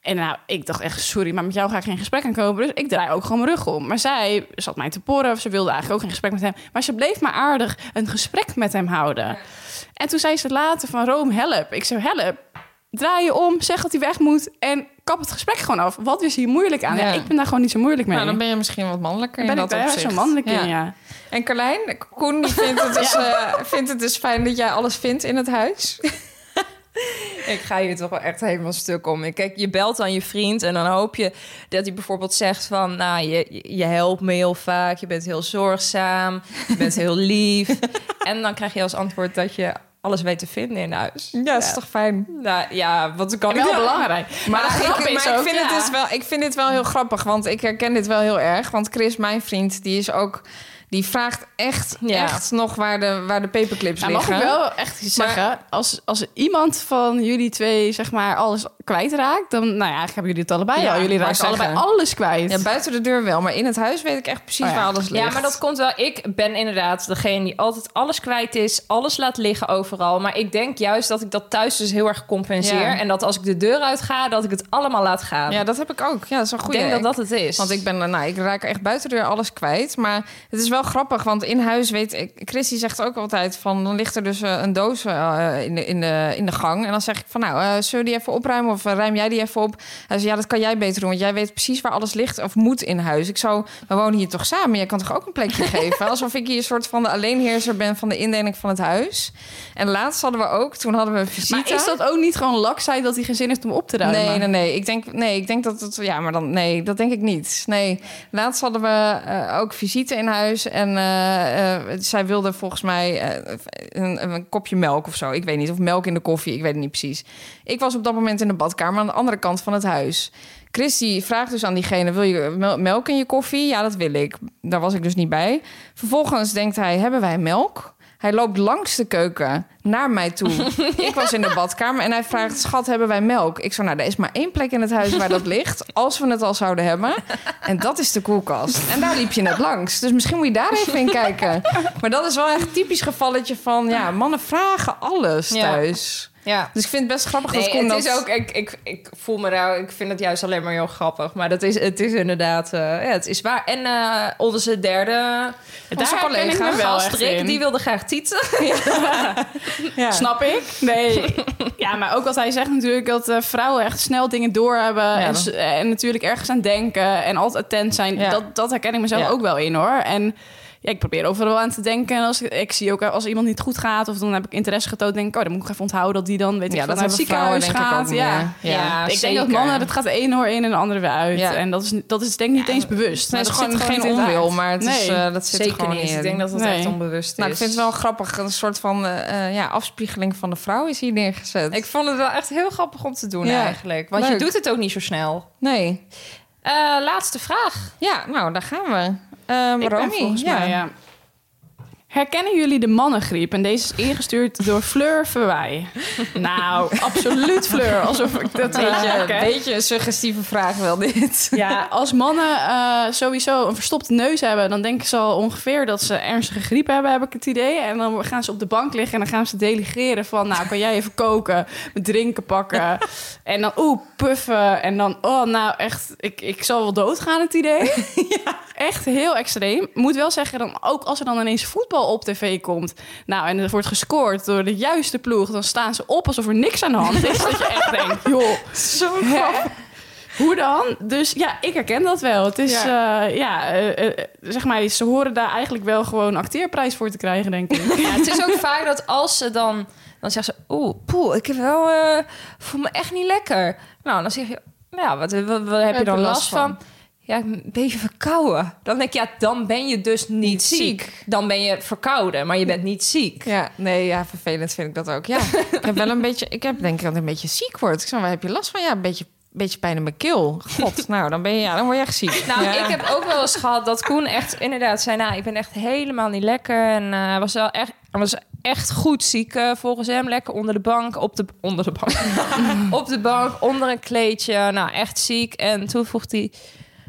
En nou, ik dacht echt, sorry, maar met jou ga ik geen gesprek aankopen. Dus ik draai ook gewoon mijn rug om. Maar zij zat mij te porren, of ze wilde eigenlijk ook geen gesprek met hem. Maar ze bleef maar aardig een gesprek met hem houden. En toen zei ze later van, Rome, help. Ik zei, help. Draai je om, zeg dat hij weg moet en kap het gesprek gewoon af. Wat is hier moeilijk aan? Ja, Ja. ik ben daar gewoon niet zo moeilijk mee. Nou, dan ben je misschien wat mannelijker ben in ik dat daar opzicht. zo mannelijk in, ja. En Carlijn, Koen die vindt, het dus, eh, vindt het dus fijn dat jij alles vindt in het huis. Ik ga hier toch wel echt helemaal stuk om. Kijk, je belt dan je vriend en dan hoop je dat hij bijvoorbeeld zegt van... nou, je, je- je helpt me heel vaak, je bent heel zorgzaam, je bent heel lief. en dan krijg je als antwoord dat je alles weet te vinden in huis. Ja, dat is toch fijn? Nou, ja, wat kan Wel ik- belangrijk. Maar, de grap ik, is maar ik ook, vind het ja. dus wel, ik vind dit wel heel grappig, want ik herken dit wel heel erg. Want Chris, mijn vriend, die is ook, die vraagt echt, Ja. echt nog waar de, waar de paperclips Nou, mag liggen. ik wel echt iets zeggen? Als, als iemand van jullie twee zeg maar alles kwijtraakt, dan nou ja, eigenlijk hebben jullie het allebei Ja, al. Jullie maar raken allebei zeggen. alles kwijt. Ja, buiten de deur wel, maar in het huis weet ik echt precies Oh ja. waar alles ligt. Ja, maar dat komt wel. Ik ben inderdaad degene die altijd alles kwijt is, alles laat liggen overal. Maar ik denk juist dat ik dat thuis dus heel erg compenseer. Ja. En dat als ik de deur uit ga, dat ik het allemaal laat gaan. Ja, dat heb ik ook. Ja, dat is een ik goede. denk dat dat het is. Want ik ben, eh, nou, ik raak echt buiten de deur alles kwijt. Maar het is wel grappig, want in huis weet ik... Chris die zegt ook altijd van, dan ligt er dus eh, een doos eh, in, de, in, de, in de gang. En dan zeg ik van, nou, eh zullen we die even opruimen? Of eh, ruim jij die even op? Hij zegt, ja, dat kan jij beter doen. Want jij weet precies waar alles ligt of moet in huis. Ik zou, we wonen hier toch samen? Jij kan toch ook een plekje geven? Alsof ik hier een soort van de alleenheerser ben van de indeling van het huis. En laatst hadden we ook, toen hadden we een visite. maar is dat ook niet gewoon laksheid dat hij geen zin heeft om op te ruimen? Nee, nee, nee. Ik denk, nee, ik denk dat het. Ja, maar dan. Nee, dat denk ik niet. Nee. Laatst hadden we eh, ook visite in huis. En eh, eh, zij wilde volgens mij eh, een, een kopje melk of zo. Ik weet niet. Of melk in de koffie. Ik weet het niet precies. Ik was op dat moment in de badkamer aan de andere kant van het huis. Christy vraagt dus aan diegene: Wil je mel- melk in je koffie? Ja, dat wil ik. Daar was ik dus niet bij. Vervolgens denkt hij: Hebben wij melk? Hij loopt langs de keuken naar mij toe. ik was in de badkamer en hij vraagt: Schat, hebben wij melk? Ik zo: Nou, er is maar één plek in het huis waar dat ligt. Als we het al zouden hebben. En dat is de koelkast. En daar liep je net langs. Dus misschien moet je daar even in kijken. Maar dat is wel echt een typisch gevalletje van: ja, mannen vragen alles Ja. thuis. ja. Dus ik vind het best grappig dat Nee, Koen het dat... is ook, ik, ik, ik voel me daar, ik vind het juist alleen maar heel grappig. Maar dat is, het is inderdaad, eh, ja, het is waar. En eh, onze derde, onze herken ik collega, me wel gast echt Rick, in. die wilde graag tieten. Ja. Snap ik? Nee. Ja, maar ook wat hij zegt natuurlijk, dat eh, vrouwen echt snel dingen doorhebben. en, dat- s- en natuurlijk ergens aan denken en altijd attent zijn. Ja. Dat, dat herken ik mezelf Ja. ook wel in hoor. En ja, ik probeer overal aan te denken. En als ik, ik zie ook eh, als iemand niet goed gaat of dan heb ik interesse getoond, denk ik, oh, dan moet ik even onthouden dat die dan, weet ik, Ja, veel, dat naar hebben het ziekenhuis vrouwen denk ik gaat. ook Ja. meer. Ja. Ja, Ik denk dat zeker. mannen, dat gaat de een oor in en de andere weer uit. Ja. En dat is, dat is denk ik niet eens bewust. Het is Dat gewoon zit geen in het onwil, aard. maar het is, Nee. eh, dat zit er Zeker gewoon niet. in. Ik denk dat dat Nee. echt onbewust is. Nou, ik vind het wel grappig. Een soort van eh, eh, ja, afspiegeling van de vrouw is hier neergezet. Ik vond het wel echt heel grappig om te doen Ja, eigenlijk. Want je leuk. doet het ook niet zo snel. Nee. Eh, laatste vraag. Ja, nou, daar gaan we. Ehm Ik ben Romy, volgens ja. mij, ja. Herkennen jullie de mannengriep? En deze is ingestuurd door Fleur Verwij. Nou, absoluut Fleur. Alsof ik dat weet Beetje, je. beetje Ah, een suggestieve vraag wel dit. Ja, als mannen eh, sowieso een verstopte neus hebben, dan denken ze al ongeveer dat ze ernstige griep hebben, heb ik het idee. En dan gaan ze op de bank liggen en dan gaan ze delegeren van, nou, kan jij even koken, me drinken pakken. En dan, oeh, puffen. En dan, oh, nou, echt, ik, ik zal wel doodgaan, het idee. Echt heel extreem. Moet wel zeggen, dan, ook als er dan ineens voetbal op tv komt, nou, en er wordt gescoord door de juiste ploeg, dan staan ze op alsof er niks aan de hand is. dat je echt denkt, joh. Zo Hè? Hoe dan? Dus ja, ik herken dat wel. Het is, ja, ja eh, eh, zeg maar, ze horen daar eigenlijk wel gewoon acteerprijs voor te krijgen, denk ik. Ja, het is ook vaak dat als ze dan... Dan zeggen ze, oeh, poeh, ik heb wel, eh, voel me echt niet lekker. Nou, dan zeg je, ja, wat, wat, wat heb je dan last van? Ja, ik ben een beetje verkouden. Dan denk ik, ja, dan ben je dus niet, ziek. Dan ben je verkouden, maar je bent niet ziek. Ja, nee, ja, vervelend vind ik dat ook. Ja, ik heb wel een beetje, ik heb denk ik dat ik een beetje ziek word. Ik zeg, waar heb je last van? Ja, een beetje, beetje pijn in mijn keel. God, nou, dan ben je, ja, dan word je echt ziek. Nou, Ja. ik heb ook wel eens gehad dat Koen echt inderdaad zei... nou, ik ben echt helemaal niet lekker. En eh, hij was wel echt, hij was echt goed ziek eh, volgens hem. Lekker onder de bank, op de, onder de bank. op de bank, onder een kleedje. Nou, echt ziek. En toen vroeg hij...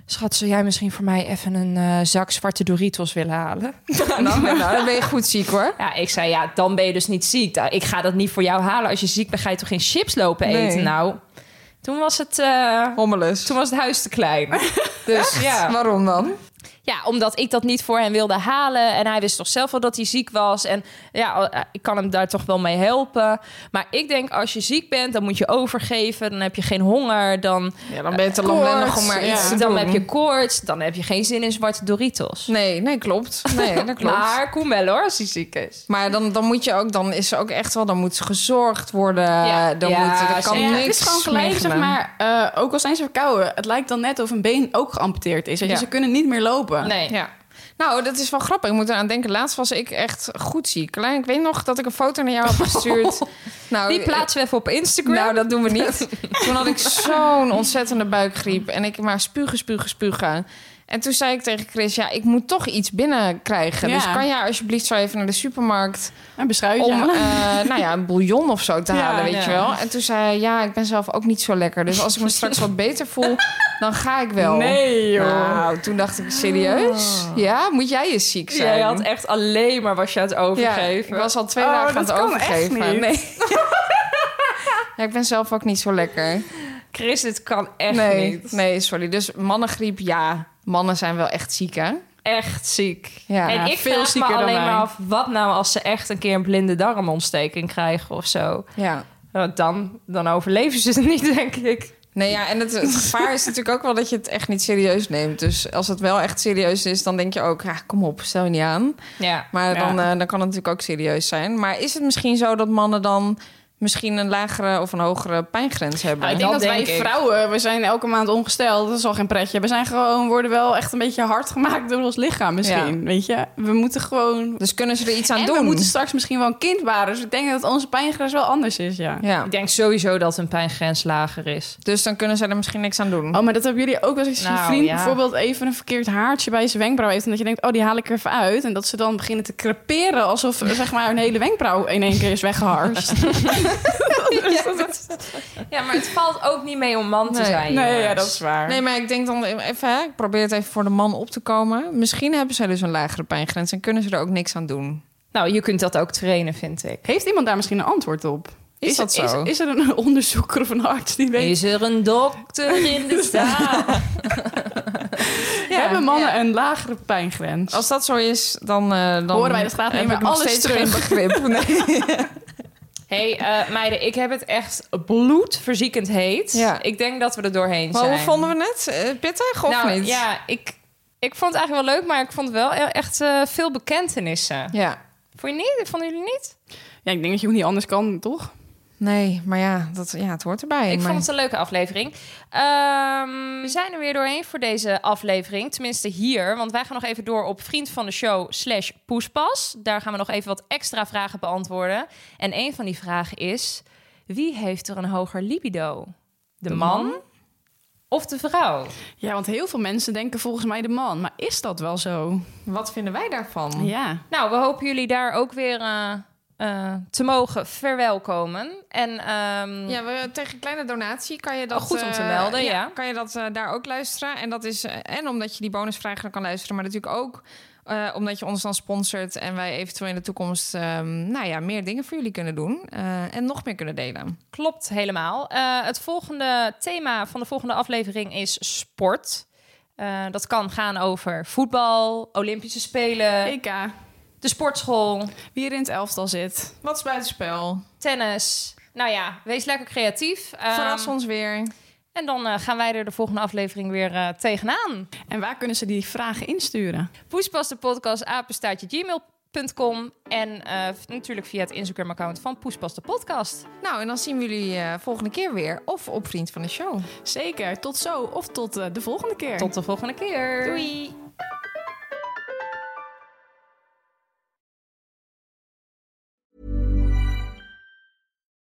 Schat, zou jij misschien voor mij even een eh, zak zwarte Doritos willen halen? Nou, nou, dan ben je goed ziek hoor. Ja, ik zei, ja, dan ben je dus niet ziek. Nou, Ik ga dat niet voor jou halen. Als je ziek bent, ga je toch geen chips lopen Nee. eten? Nou, toen was het... eh, Hommelus. toen was het huis te klein. Dus Ja. waarom dan? Ja, omdat ik dat niet voor hem wilde halen. En hij wist toch zelf wel dat hij ziek was. En ja, eh, ik kan hem daar toch wel mee helpen. Maar ik denk, als je ziek bent, dan moet je overgeven. Dan heb je geen honger. Dan, Ja, dan ben je te lamlendig om maar ja, iets te dan doen. heb je koorts. Dan heb je geen zin in zwarte Doritos. Nee, nee, klopt. Nee, dat klopt. Maar, Maar Koen wel hoor, als hij ziek is. dan, dan moet je ook, dan is ze ook echt wel, dan moet ze gezorgd worden. Ja. dan Ja, moet, er kan zeker. Ja, niks het is gewoon mee gelijk, zeg gedaan. maar, eh, ook al zijn ze verkouden, het lijkt dan net of een been ook geamputeerd is. Weet je, Ja. Ze kunnen niet meer lopen. Nee. Ja. Nou, dat is wel grappig. Ik moet eraan denken. Laatst was ik echt goed ziek. Klein, ik weet nog dat ik een foto naar jou heb gestuurd. Nou, Die plaatsen we even op Instagram. Nou, dat doen we niet. toen had ik zo'n ontzettende buikgriep. En ik maar spugen, spugen, spugen. En toen zei ik tegen Chris, ja, ik moet toch iets binnenkrijgen. Ja. Dus kan jij alsjeblieft zo even naar de supermarkt... Een beschuitje. om eh, nou ja, een bouillon of zo te Ja, halen, weet ja. je wel. En toen zei hij, ja, ik ben zelf ook niet zo lekker. Dus als ik me straks wat beter voel, dan ga ik wel. Nee, joh. Ah. Nou, toen dacht ik, serieus? Ja, moet jij eens ziek zijn? Jij had echt alleen maar was je aan het ja, overgeven. ik was al twee Oh, dagen aan dat het kan echt overgeven. niet. Nee. ja, ik ben zelf ook niet zo lekker. Chris, dit kan echt nee, niet. nee, sorry. Dus mannengriep, ja. Mannen zijn wel echt ziek, hè? echt ziek. Ja, en ik veel veel vraag me zieker dan alleen wij. maar af... wat nou als ze echt een keer een blinde darmontsteking krijgen of zo? Ja. Nou, Dan, dan overleven ze het niet, denk ik. Nee, ja, en het, het gevaar is natuurlijk ook wel dat je het echt niet serieus neemt. Dus als het wel echt serieus is, dan denk je ook, ja, kom op, stel je niet aan. Ja. Maar Ja. dan, eh, dan kan het natuurlijk ook serieus zijn. Maar is het misschien zo dat mannen dan misschien een lagere of een hogere pijngrens hebben? Nou, ik denk Dat dat, denk wij ik. vrouwen, we zijn elke maand ongesteld. Dat is al geen pretje. We zijn gewoon, worden wel echt een beetje hard gemaakt door ons lichaam misschien. Weet je? We moeten gewoon... Dus kunnen ze er iets aan en doen? we moeten straks misschien wel een kind waren. Dus ik denk dat onze pijngrens wel anders is, ja. ja. Ik denk sowieso dat hun pijngrens lager is. Dus dan kunnen ze er misschien niks aan doen. Oh, maar dat hebben jullie ook wel eens. Als je Nou, vriend ja. bijvoorbeeld even een verkeerd haartje bij zijn wenkbrauw heeft... en dat je denkt, oh, die haal ik er even uit. En dat ze dan beginnen te creperen... alsof eh, zeg maar, hun hele wenkbrauw in één keer is weggeharst. Ja, maar het valt ook niet mee om man te Nee. zijn. nee, ja, jongens. dat is waar. Nee, maar ik denk dan even, hè, ik probeer het even voor de man op te komen. Misschien hebben zij dus een lagere pijngrens en kunnen ze er ook niks aan doen. Nou, je kunt dat ook trainen, vind ik. Heeft iemand daar misschien een antwoord op? Is dat zo? Is, is er een onderzoeker of een arts die weet... Is er een dokter in de zaal? hebben mannen een lagere pijngrens? Als dat zo is, dan, eh, dan Horen wij de straat niet heb meer ik nog alles steeds terug. geen begrip. Nee. hey, eh, meiden, ik heb het echt bloedverziekend heet. Ja. Ik denk dat we er doorheen Maar zijn. hoe vonden we het? Eh, pittig of nou, niet? Ja, ik, Ik vond het eigenlijk wel leuk, maar ik vond wel e- echt eh, veel bekentenissen. Ja. Vond je niet? Vonden jullie niet? Ja, ik denk dat je ook niet anders kan, toch? Nee, maar ja, dat, ja het hoort erbij. Ik maar- vond het een leuke aflevering. Ehm, we zijn er weer doorheen voor deze aflevering. Tenminste hier. Want wij gaan nog even door op vriend van de show slash poespas. Daar gaan we nog even wat extra vragen beantwoorden. En een van die vragen is... Wie heeft er een hoger libido? De, man, of de vrouw? Ja, want heel veel mensen denken volgens mij de man. Maar is dat wel zo? Wat vinden wij daarvan? Ja. Nou, we hopen jullie daar ook weer... eh, eh, te mogen verwelkomen. En ehm, Ja, we, tegen een kleine donatie kan je dat... Oh, goed om te eh, melden, ja. Kan je dat eh, daar ook luisteren. En dat is... eh, en omdat je die bonusvragen dan kan luisteren. Maar natuurlijk ook eh, omdat je ons dan sponsort. En wij eventueel in de toekomst... ehm, nou ja, meer dingen voor jullie kunnen doen. eh, en nog meer kunnen delen. Klopt helemaal. Eh, het volgende thema van de volgende aflevering is sport. Eh, dat kan gaan over voetbal, Olympische Spelen, EK, de sportschool, E wie er in het elftal zit. Wat is buitenspel? tennis. Nou ja, wees lekker creatief. Ehm, Verras ons weer. En dan eh, gaan wij er de volgende aflevering weer eh, tegenaan. En waar kunnen ze die vragen insturen? Poespas de podcast, apenstaartje gmail.com. En eh, v- natuurlijk via het Instagram-account van Poespas de podcast. Nou, en dan zien we jullie eh, volgende keer weer. Of op Vriend van de Show. Zeker, tot zo of tot eh, de volgende keer. Tot de volgende keer. Doei.